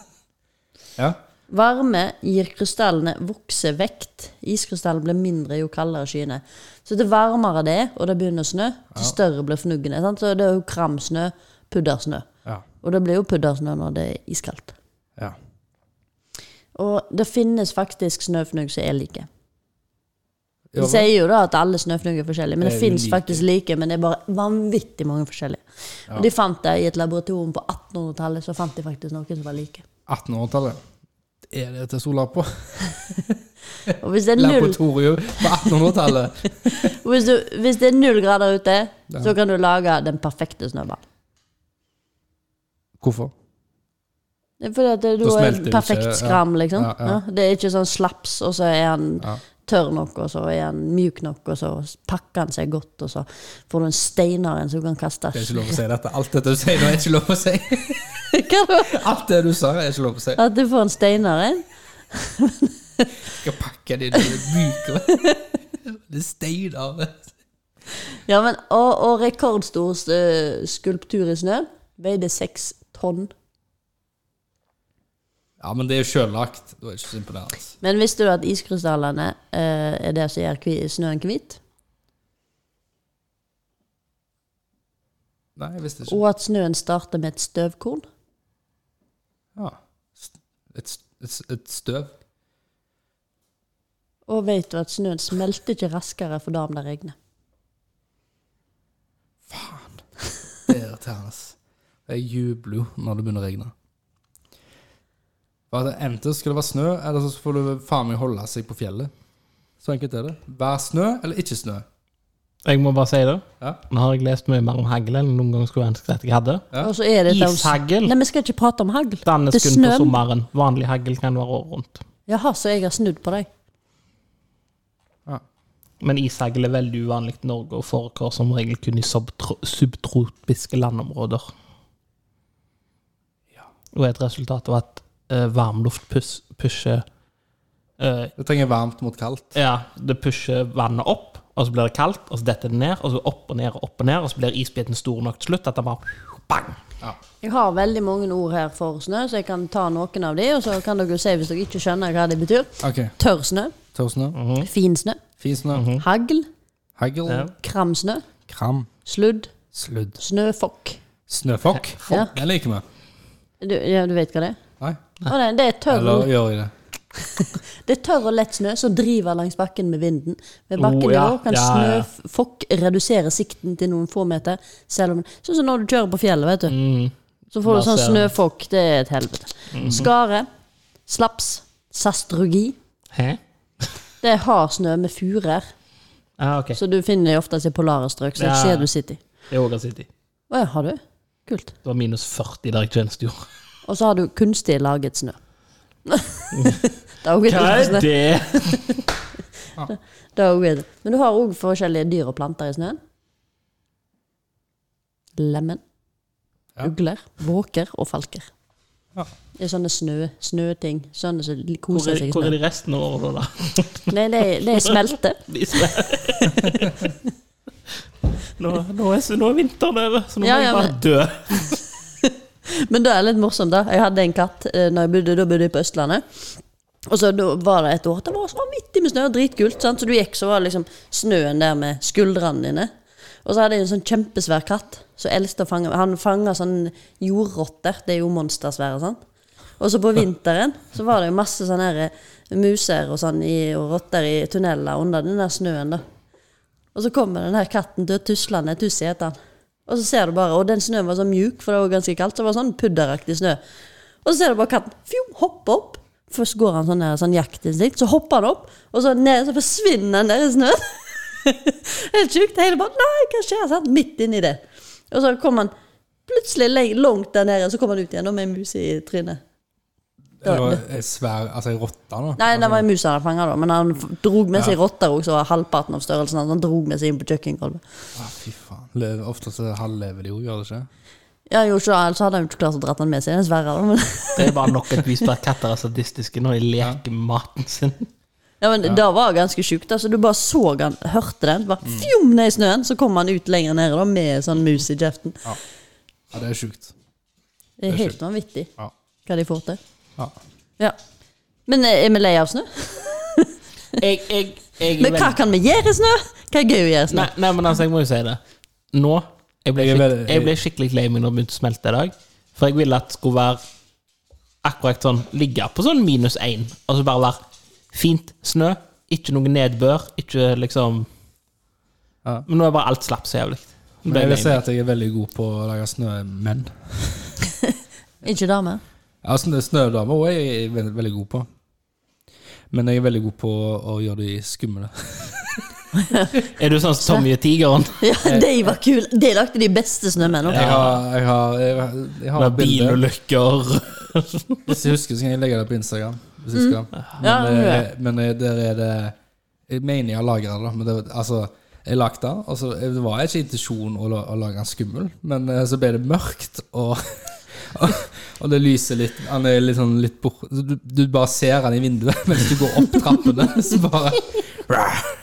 Speaker 1: ja.
Speaker 2: Varme gir krystallene voksevekt. Iskrystallen blir mindre jo kaldere skyene. Så det varmere det er, og det begynner å snø, det større blir fnuggene. Sant? Så det er jo kramsnø, puddersnø.
Speaker 1: Ja.
Speaker 2: Og det blir jo puddersnø når det er iskaldt.
Speaker 1: ja.
Speaker 2: Og det finnes faktisk snøfnugg som er like. De
Speaker 1: Ja,
Speaker 2: sier jo da at alle snøfnugger er forskjellige, men det
Speaker 1: Er
Speaker 2: fins
Speaker 1: like.
Speaker 2: faktisk like. Men det er bare vanvittig mange forskjellige. Og de fant det i et laboratorium på 1800-tallet, så fant de faktisk noen som var like.
Speaker 1: 1800-tallet. Er det til sola på?
Speaker 2: Og hvis det er null
Speaker 1: Laboratorium på 1800-tallet.
Speaker 2: Og Hvis, du, hvis det er null grader ute, så kan du lage den perfekte snøball.
Speaker 1: Hvorfor?
Speaker 2: Det er fordi at det, du
Speaker 1: Da
Speaker 2: har
Speaker 1: smelter
Speaker 2: en
Speaker 1: det
Speaker 2: perfekt
Speaker 1: ikke, ja.
Speaker 2: skram, liksom.
Speaker 1: Ja,
Speaker 2: Ja,
Speaker 1: ja.
Speaker 2: det er ikke sånn slaps, og så er han
Speaker 1: Ja.
Speaker 2: tørr nok, og så er han mjuk nok, og så pakker han seg godt, og så får du en steinar en som kan kaste
Speaker 1: Det er ikke lov å si dette. Alt dette du sier nå, er ikke lov å si.
Speaker 2: Hva da?
Speaker 1: Alt det du sa, er ikke lov å si.
Speaker 2: At du får en steinar en?
Speaker 1: Jeg skal pakke det i myker. Det er steiner.
Speaker 2: Ja, men, og, og rekordstor eh, skulptur i snø veide seks tonn.
Speaker 1: Ja, men det er jo sjøllagt. Det er ikke så imponerende.
Speaker 2: Men visste du at iskrystallene eh, er det som gjør kvi, snøen hvit?
Speaker 1: Nei, jeg visste ikke.
Speaker 2: Og at snøen starter med et støvkorn?
Speaker 1: Ja. Et, et, et støv.
Speaker 2: Og vet du at snøen smelter ikke raskere for dagen det regner.
Speaker 1: Det er irriterende. ass. Jeg jubler jo når det begynner å regne. Bare det Enten skal det være snø, eller så får du faen meg holde seg på fjellet. Så enkelt er det. Vær snø eller ikke snø.
Speaker 3: Jeg må bare si det.
Speaker 1: Ja.
Speaker 3: Nå har jeg lest mye mer om hagl enn noen gang skulle ønske at jeg hadde.
Speaker 1: Ja.
Speaker 2: Og så er det
Speaker 3: Ishagl.
Speaker 2: Nei, vi skal ikke prate om hagl.
Speaker 3: Dannes
Speaker 2: Det
Speaker 3: kun på
Speaker 2: snøen.
Speaker 3: sommeren. Vanlig hagl kan være året rundt.
Speaker 2: Jaha, så jeg har snudd på deg.
Speaker 3: Men ishagl er veldig uvanlig i Norge og foregår som regel kun i subtro subtropiske landområder. Og er et resultat av at eh, varmluft pus pusher eh,
Speaker 1: Du trenger varmt mot kaldt.
Speaker 3: Ja, det pusher vannet opp, og så blir det kaldt, og så detter det ned, og så opp og ned og opp og ned, og så blir isbiten stor nok til slutt at den bare bang!
Speaker 2: Jeg har veldig mange ord her for snø, så jeg kan ta noen av de, og så kan dere jo si hvis dere ikke skjønner hva de betyr.
Speaker 1: OK.
Speaker 2: Tørr snø,
Speaker 1: Tørr snø.
Speaker 2: fin snø,
Speaker 1: Fin snø.
Speaker 2: hagl,
Speaker 1: Hagl.
Speaker 3: Ja.
Speaker 2: kramsnø,
Speaker 1: Kram.
Speaker 2: sludd,
Speaker 1: Sludd.
Speaker 2: snøfokk.
Speaker 1: Snøfokk.
Speaker 2: Ja.
Speaker 1: Den liker vi.
Speaker 2: Du, ja, du vet hva det er?
Speaker 1: Nei?
Speaker 2: Å nei, det er tørr
Speaker 1: Eller gjør jeg det?
Speaker 2: Det er tørr og lett snø som driver langs bakken med vinden. Ved bakkenivå
Speaker 3: Oh, ja.
Speaker 2: kan
Speaker 3: Ja, ja.
Speaker 2: snøfokk redusere sikten til noen få meter. Selv om, sånn som når du kjører på fjellet, vet du. Så får
Speaker 3: Da
Speaker 2: du sånn
Speaker 3: Mm. ser Mhm. jeg.
Speaker 2: snøfokk. Det er et helvete. Skare, slaps, sastrugi.
Speaker 3: Hæ?
Speaker 2: Det er hard snø med furer,
Speaker 3: Ja, Ah, ok.
Speaker 2: så du finner det oftest i polare strøk. Så jeg
Speaker 3: Ja.
Speaker 2: ser du sitter i.
Speaker 3: Det er Åga City.
Speaker 2: Å ja, har du? Kult.
Speaker 3: Det var minus 40 der jeg tjenestegjorde.
Speaker 2: Og så har du kunstig laget snø. det er også et ord for snø.
Speaker 3: det?
Speaker 2: Det er også et- Men du har òg forskjellige dyr og planter i snøen. Lemen,
Speaker 1: Ja.
Speaker 2: ugler, våker og falker.
Speaker 1: Ja.
Speaker 2: Det er sånne snø, snøting. Sånne som li-
Speaker 3: Hvor
Speaker 2: koser
Speaker 3: er,
Speaker 2: seg i
Speaker 3: hvor er
Speaker 2: snø.
Speaker 3: de resten av året, da?
Speaker 2: Nei, de, de smelter.
Speaker 3: De som nå, nå, er, nå er vinteren over, så nå
Speaker 2: Ja,
Speaker 3: må
Speaker 2: ja,
Speaker 3: jeg bare
Speaker 2: men-
Speaker 3: dø.
Speaker 2: Men det er litt morsomt, da. Jeg hadde en katt eh, når jeg bodde, da bodde jeg på Østlandet. Og så da var det et år det var så vanvittig med snø, dritkult. Sant? Så du gikk, så var det liksom snøen der med skuldrene dine. Og så hadde jeg en sånn kjempesvær katt. Så eldste fanger, Han fanga sånn jordrotter. Det er jo monstersvære, sant. Og så på vinteren så var det jo masse sånne her, eh, muser og sånn i, og rotter i tunneler under den der snøen, da. Og så kommer den her katten til tuslende. Tussi heter han. Og så ser du bare, og den snøen var så mjuk, for det var ganske kaldt, så det var sånn pudderaktig snø. Og så ser du bare katten fjo, hoppe opp. Først går han sånn der, sånn jaktinstinkt, så hopper han opp, og så ned, så forsvinner han der i snøen. Helt sjukt. Hele bare Nei, hva skjer? Sant? Midt inni det. Og så kom han plutselig leng- langt der nede, og så kom han ut igjen og med en mus i trynet.
Speaker 1: Det var en svær Altså ei rotte, da.
Speaker 2: Nei, det var en mus han hadde fanga, da, men han f- drog med seg rotter òg, så var halvparten av størrelsen hans. Han drog med seg inn på kjøkkengulvet.
Speaker 1: Ah, fy faen. Løv, ofte så halvlever de jo, gjør det ikke?
Speaker 2: Ja, jo, ikke da, ellers hadde han jo ikke klart å dra den med seg. Den er sverre, da, men
Speaker 3: Det er bare nok et vis på at katter er sadistiske når de leker med maten sin.
Speaker 2: Ja, men Det var ganske sjukt. Altså, du bare så han, hørte den, bare fjom ned i snøen, så kom han ut lenger nede da, med sånn mus i kjeften.
Speaker 1: Ja, det er sjukt.
Speaker 2: Det er
Speaker 1: er
Speaker 2: helt vanvittig
Speaker 1: Ja.
Speaker 2: hva de får til.
Speaker 1: ja.
Speaker 2: Ja. Men eh, er vi lei av snø?
Speaker 3: Jeg, jeg, jeg er
Speaker 2: Men hva
Speaker 3: veldig-
Speaker 2: kan vi gjøre i snø? Hva er gøy å gjøre i snø?
Speaker 3: Nei, nei, men altså, jeg må jo si det. Nå Jeg ble,
Speaker 1: Jeg er
Speaker 3: skik
Speaker 1: veldig-
Speaker 3: jeg ble skikkelig lei meg når det begynte å smelte i dag. For jeg ville at det skulle være akkurat sånn Ligge på sånn minus én. Og så bare være fint snø. Ikke noe nedbør. Ikke liksom
Speaker 1: Ja.
Speaker 3: Men nå er bare alt slapp så jævlig.
Speaker 1: Men jeg vil si at jeg er veldig god på å lage snømenn.
Speaker 2: Ikke dame?
Speaker 1: Ja, snø, snødamer også er jeg veldig, veldig god på. Men jeg er veldig god på å gjøre de skumle.
Speaker 3: Er du sånn som Tommy og tigeren?
Speaker 2: Ja, eh, de var kule. De lagde de beste snømenn.
Speaker 1: Jeg
Speaker 2: også.
Speaker 1: har, jeg har, jeg har, jeg har
Speaker 3: Med
Speaker 1: bilder.
Speaker 3: bilulykker?
Speaker 1: Hvis jeg husker, så kan jeg legge det på Instagram. Hvis jeg skal. Men,
Speaker 2: Mm. Ja, det gjør
Speaker 1: eh, men eh, der er det Jeg mener jeg har lagra det, da, men det, altså, jeg lagde den. og så- det var ikke intensjon å, la- å lage den skummel, men eh, så ble det mørkt, og, og, og det lyser litt Han er litt sånn litt bort du, du bare ser han i vinduet mens du går opp trappene, så bare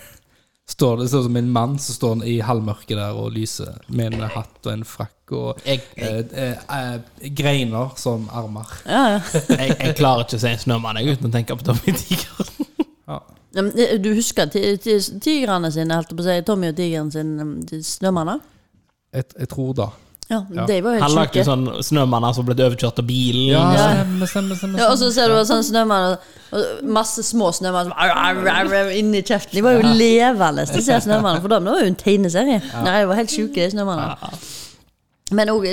Speaker 1: Står det sånn som en mann som står han i halvmørket der og lyser med en hatt og en frakk og
Speaker 3: Jeg, jeg,
Speaker 1: eh, eh, eh, greiner som armer.
Speaker 2: Ja, ja.
Speaker 3: jeg, jeg klarer ikke å si snømann jeg, uten å tenke på Tommy og tigeren.
Speaker 1: Ja.
Speaker 2: Ja, men, eh, Du husker ti- ti- tigrene sine, holdt jeg på å si. Tommy og tigeren sine um, de snømenn? da?
Speaker 1: Jeg, jeg tror da.
Speaker 2: Ja, de var jo
Speaker 3: Han
Speaker 2: helt
Speaker 3: lagde jo
Speaker 2: sjuke.
Speaker 3: sånn snømanner som ble overkjørt av bilen.
Speaker 1: stemmer, stemmer, stemmer.
Speaker 2: Ja, og så ser du sånn snømann og Masse små snømann som arr, arr, arr, arr, inni kjeften. De var jo levende, de ser snømannen. For dem det var jo en tegneserie. Nei, de var helt sjuke, de snømannene. Men òg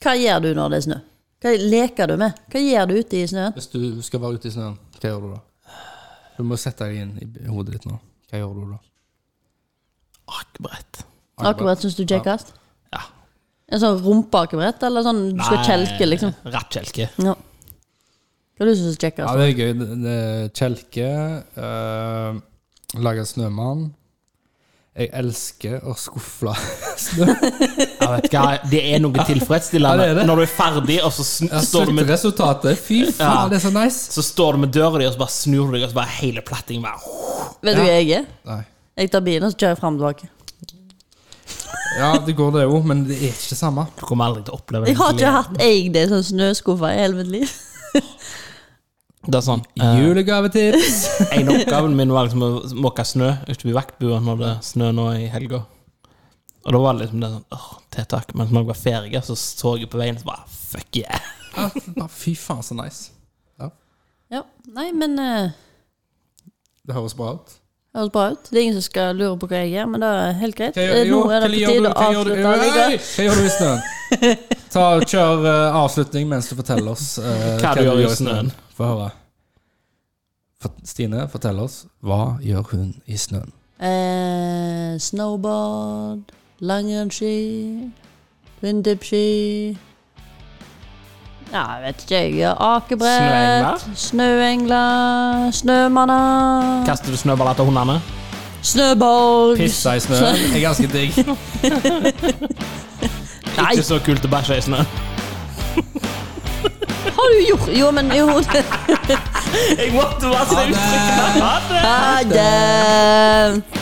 Speaker 2: Hva gjør du når det er snø? Hva leker du med? Hva gjør du ute i snøen?
Speaker 1: Hvis du skal være ute i snøen, hva gjør du da? Du må sette deg inn i hodet ditt nå. Hva gjør du da?
Speaker 3: Akebrett.
Speaker 2: Akebrett syns du er kjekkest?
Speaker 3: Ja.
Speaker 2: En sånn rumpeakebrett, eller sånn du skal
Speaker 3: Nei,
Speaker 2: kjelke, liksom?
Speaker 3: Rattkjelke.
Speaker 2: Ja. Hva er det du syns er
Speaker 1: Ja,
Speaker 2: kjekkest?
Speaker 1: det er gøy. Det- det- Kjelke. øh, lage snømann. Jeg elsker å skufle snø.
Speaker 3: Jeg vet ikke, det er noe
Speaker 1: Ja,
Speaker 3: tilfredsstillende.
Speaker 1: det er det.
Speaker 3: Når du er ferdig, og så, sn står du med,
Speaker 1: Sluttresultatet. Fy
Speaker 3: Ja.
Speaker 1: faen, det er så nice.
Speaker 3: så står du med døra di, og så bare snur du deg, og så bare hele plattingen bare
Speaker 2: Vet du hva jeg er?
Speaker 1: Nei.
Speaker 2: Jeg tar bilen og så kjører jeg fram og tilbake.
Speaker 1: Ja, det går det jo, men det er ikke det samme.
Speaker 3: Du kommer aldri til å oppleve
Speaker 2: Jeg har ikke
Speaker 3: gleden.
Speaker 2: hatt egentlig en sånn snøskuffe i hele mitt liv.
Speaker 3: Det er sånn eh,
Speaker 1: Julegavetips!
Speaker 3: En av oppgaven min var liksom å måke snø utenfor vektbua når det snø nå i helga. Og da var det liksom det sånn åh, tiltak. Men når jeg var ferdig, så så jeg på veien, så bare fuck yeah.
Speaker 1: Ja, bare Fy faen, så nice.
Speaker 2: Ja, nei, men eh,
Speaker 1: Det høres bra ut.
Speaker 2: det høres bra ut. Det er ingen som skal lure på hva jeg gjør, men det er helt greit.
Speaker 1: Hva gjør,
Speaker 2: Eh, Nå
Speaker 1: jo,
Speaker 2: er det
Speaker 1: hva gjør
Speaker 2: på
Speaker 1: du-
Speaker 2: tide å
Speaker 1: hva gjør du-
Speaker 2: avslutte.
Speaker 1: Øy,
Speaker 2: Ligge.
Speaker 1: Hva gjør du i snøen? Ta, og kjør eh, avslutning mens du forteller oss eh,
Speaker 3: Hva du gjør i snøen.
Speaker 1: Få høre. Fort- Stine, fortell oss. Hva gjør hun i snøen?
Speaker 2: Eh, snowboard, langrennsski, vindippski Ja, jeg vet ikke, jeg. gjør Akebrett, snøengler, snømanner,
Speaker 3: Kaster du snøballer etter hundene?
Speaker 2: snøborg
Speaker 1: Pisse i snøen er ganske digg.
Speaker 2: Nei,
Speaker 3: Ikke så kult å bæsje i snøen.
Speaker 2: har du gjort Jo, men jo
Speaker 3: Jeg måtte bare si
Speaker 1: Ha det!
Speaker 3: Ha
Speaker 2: Ha
Speaker 3: det!
Speaker 2: det!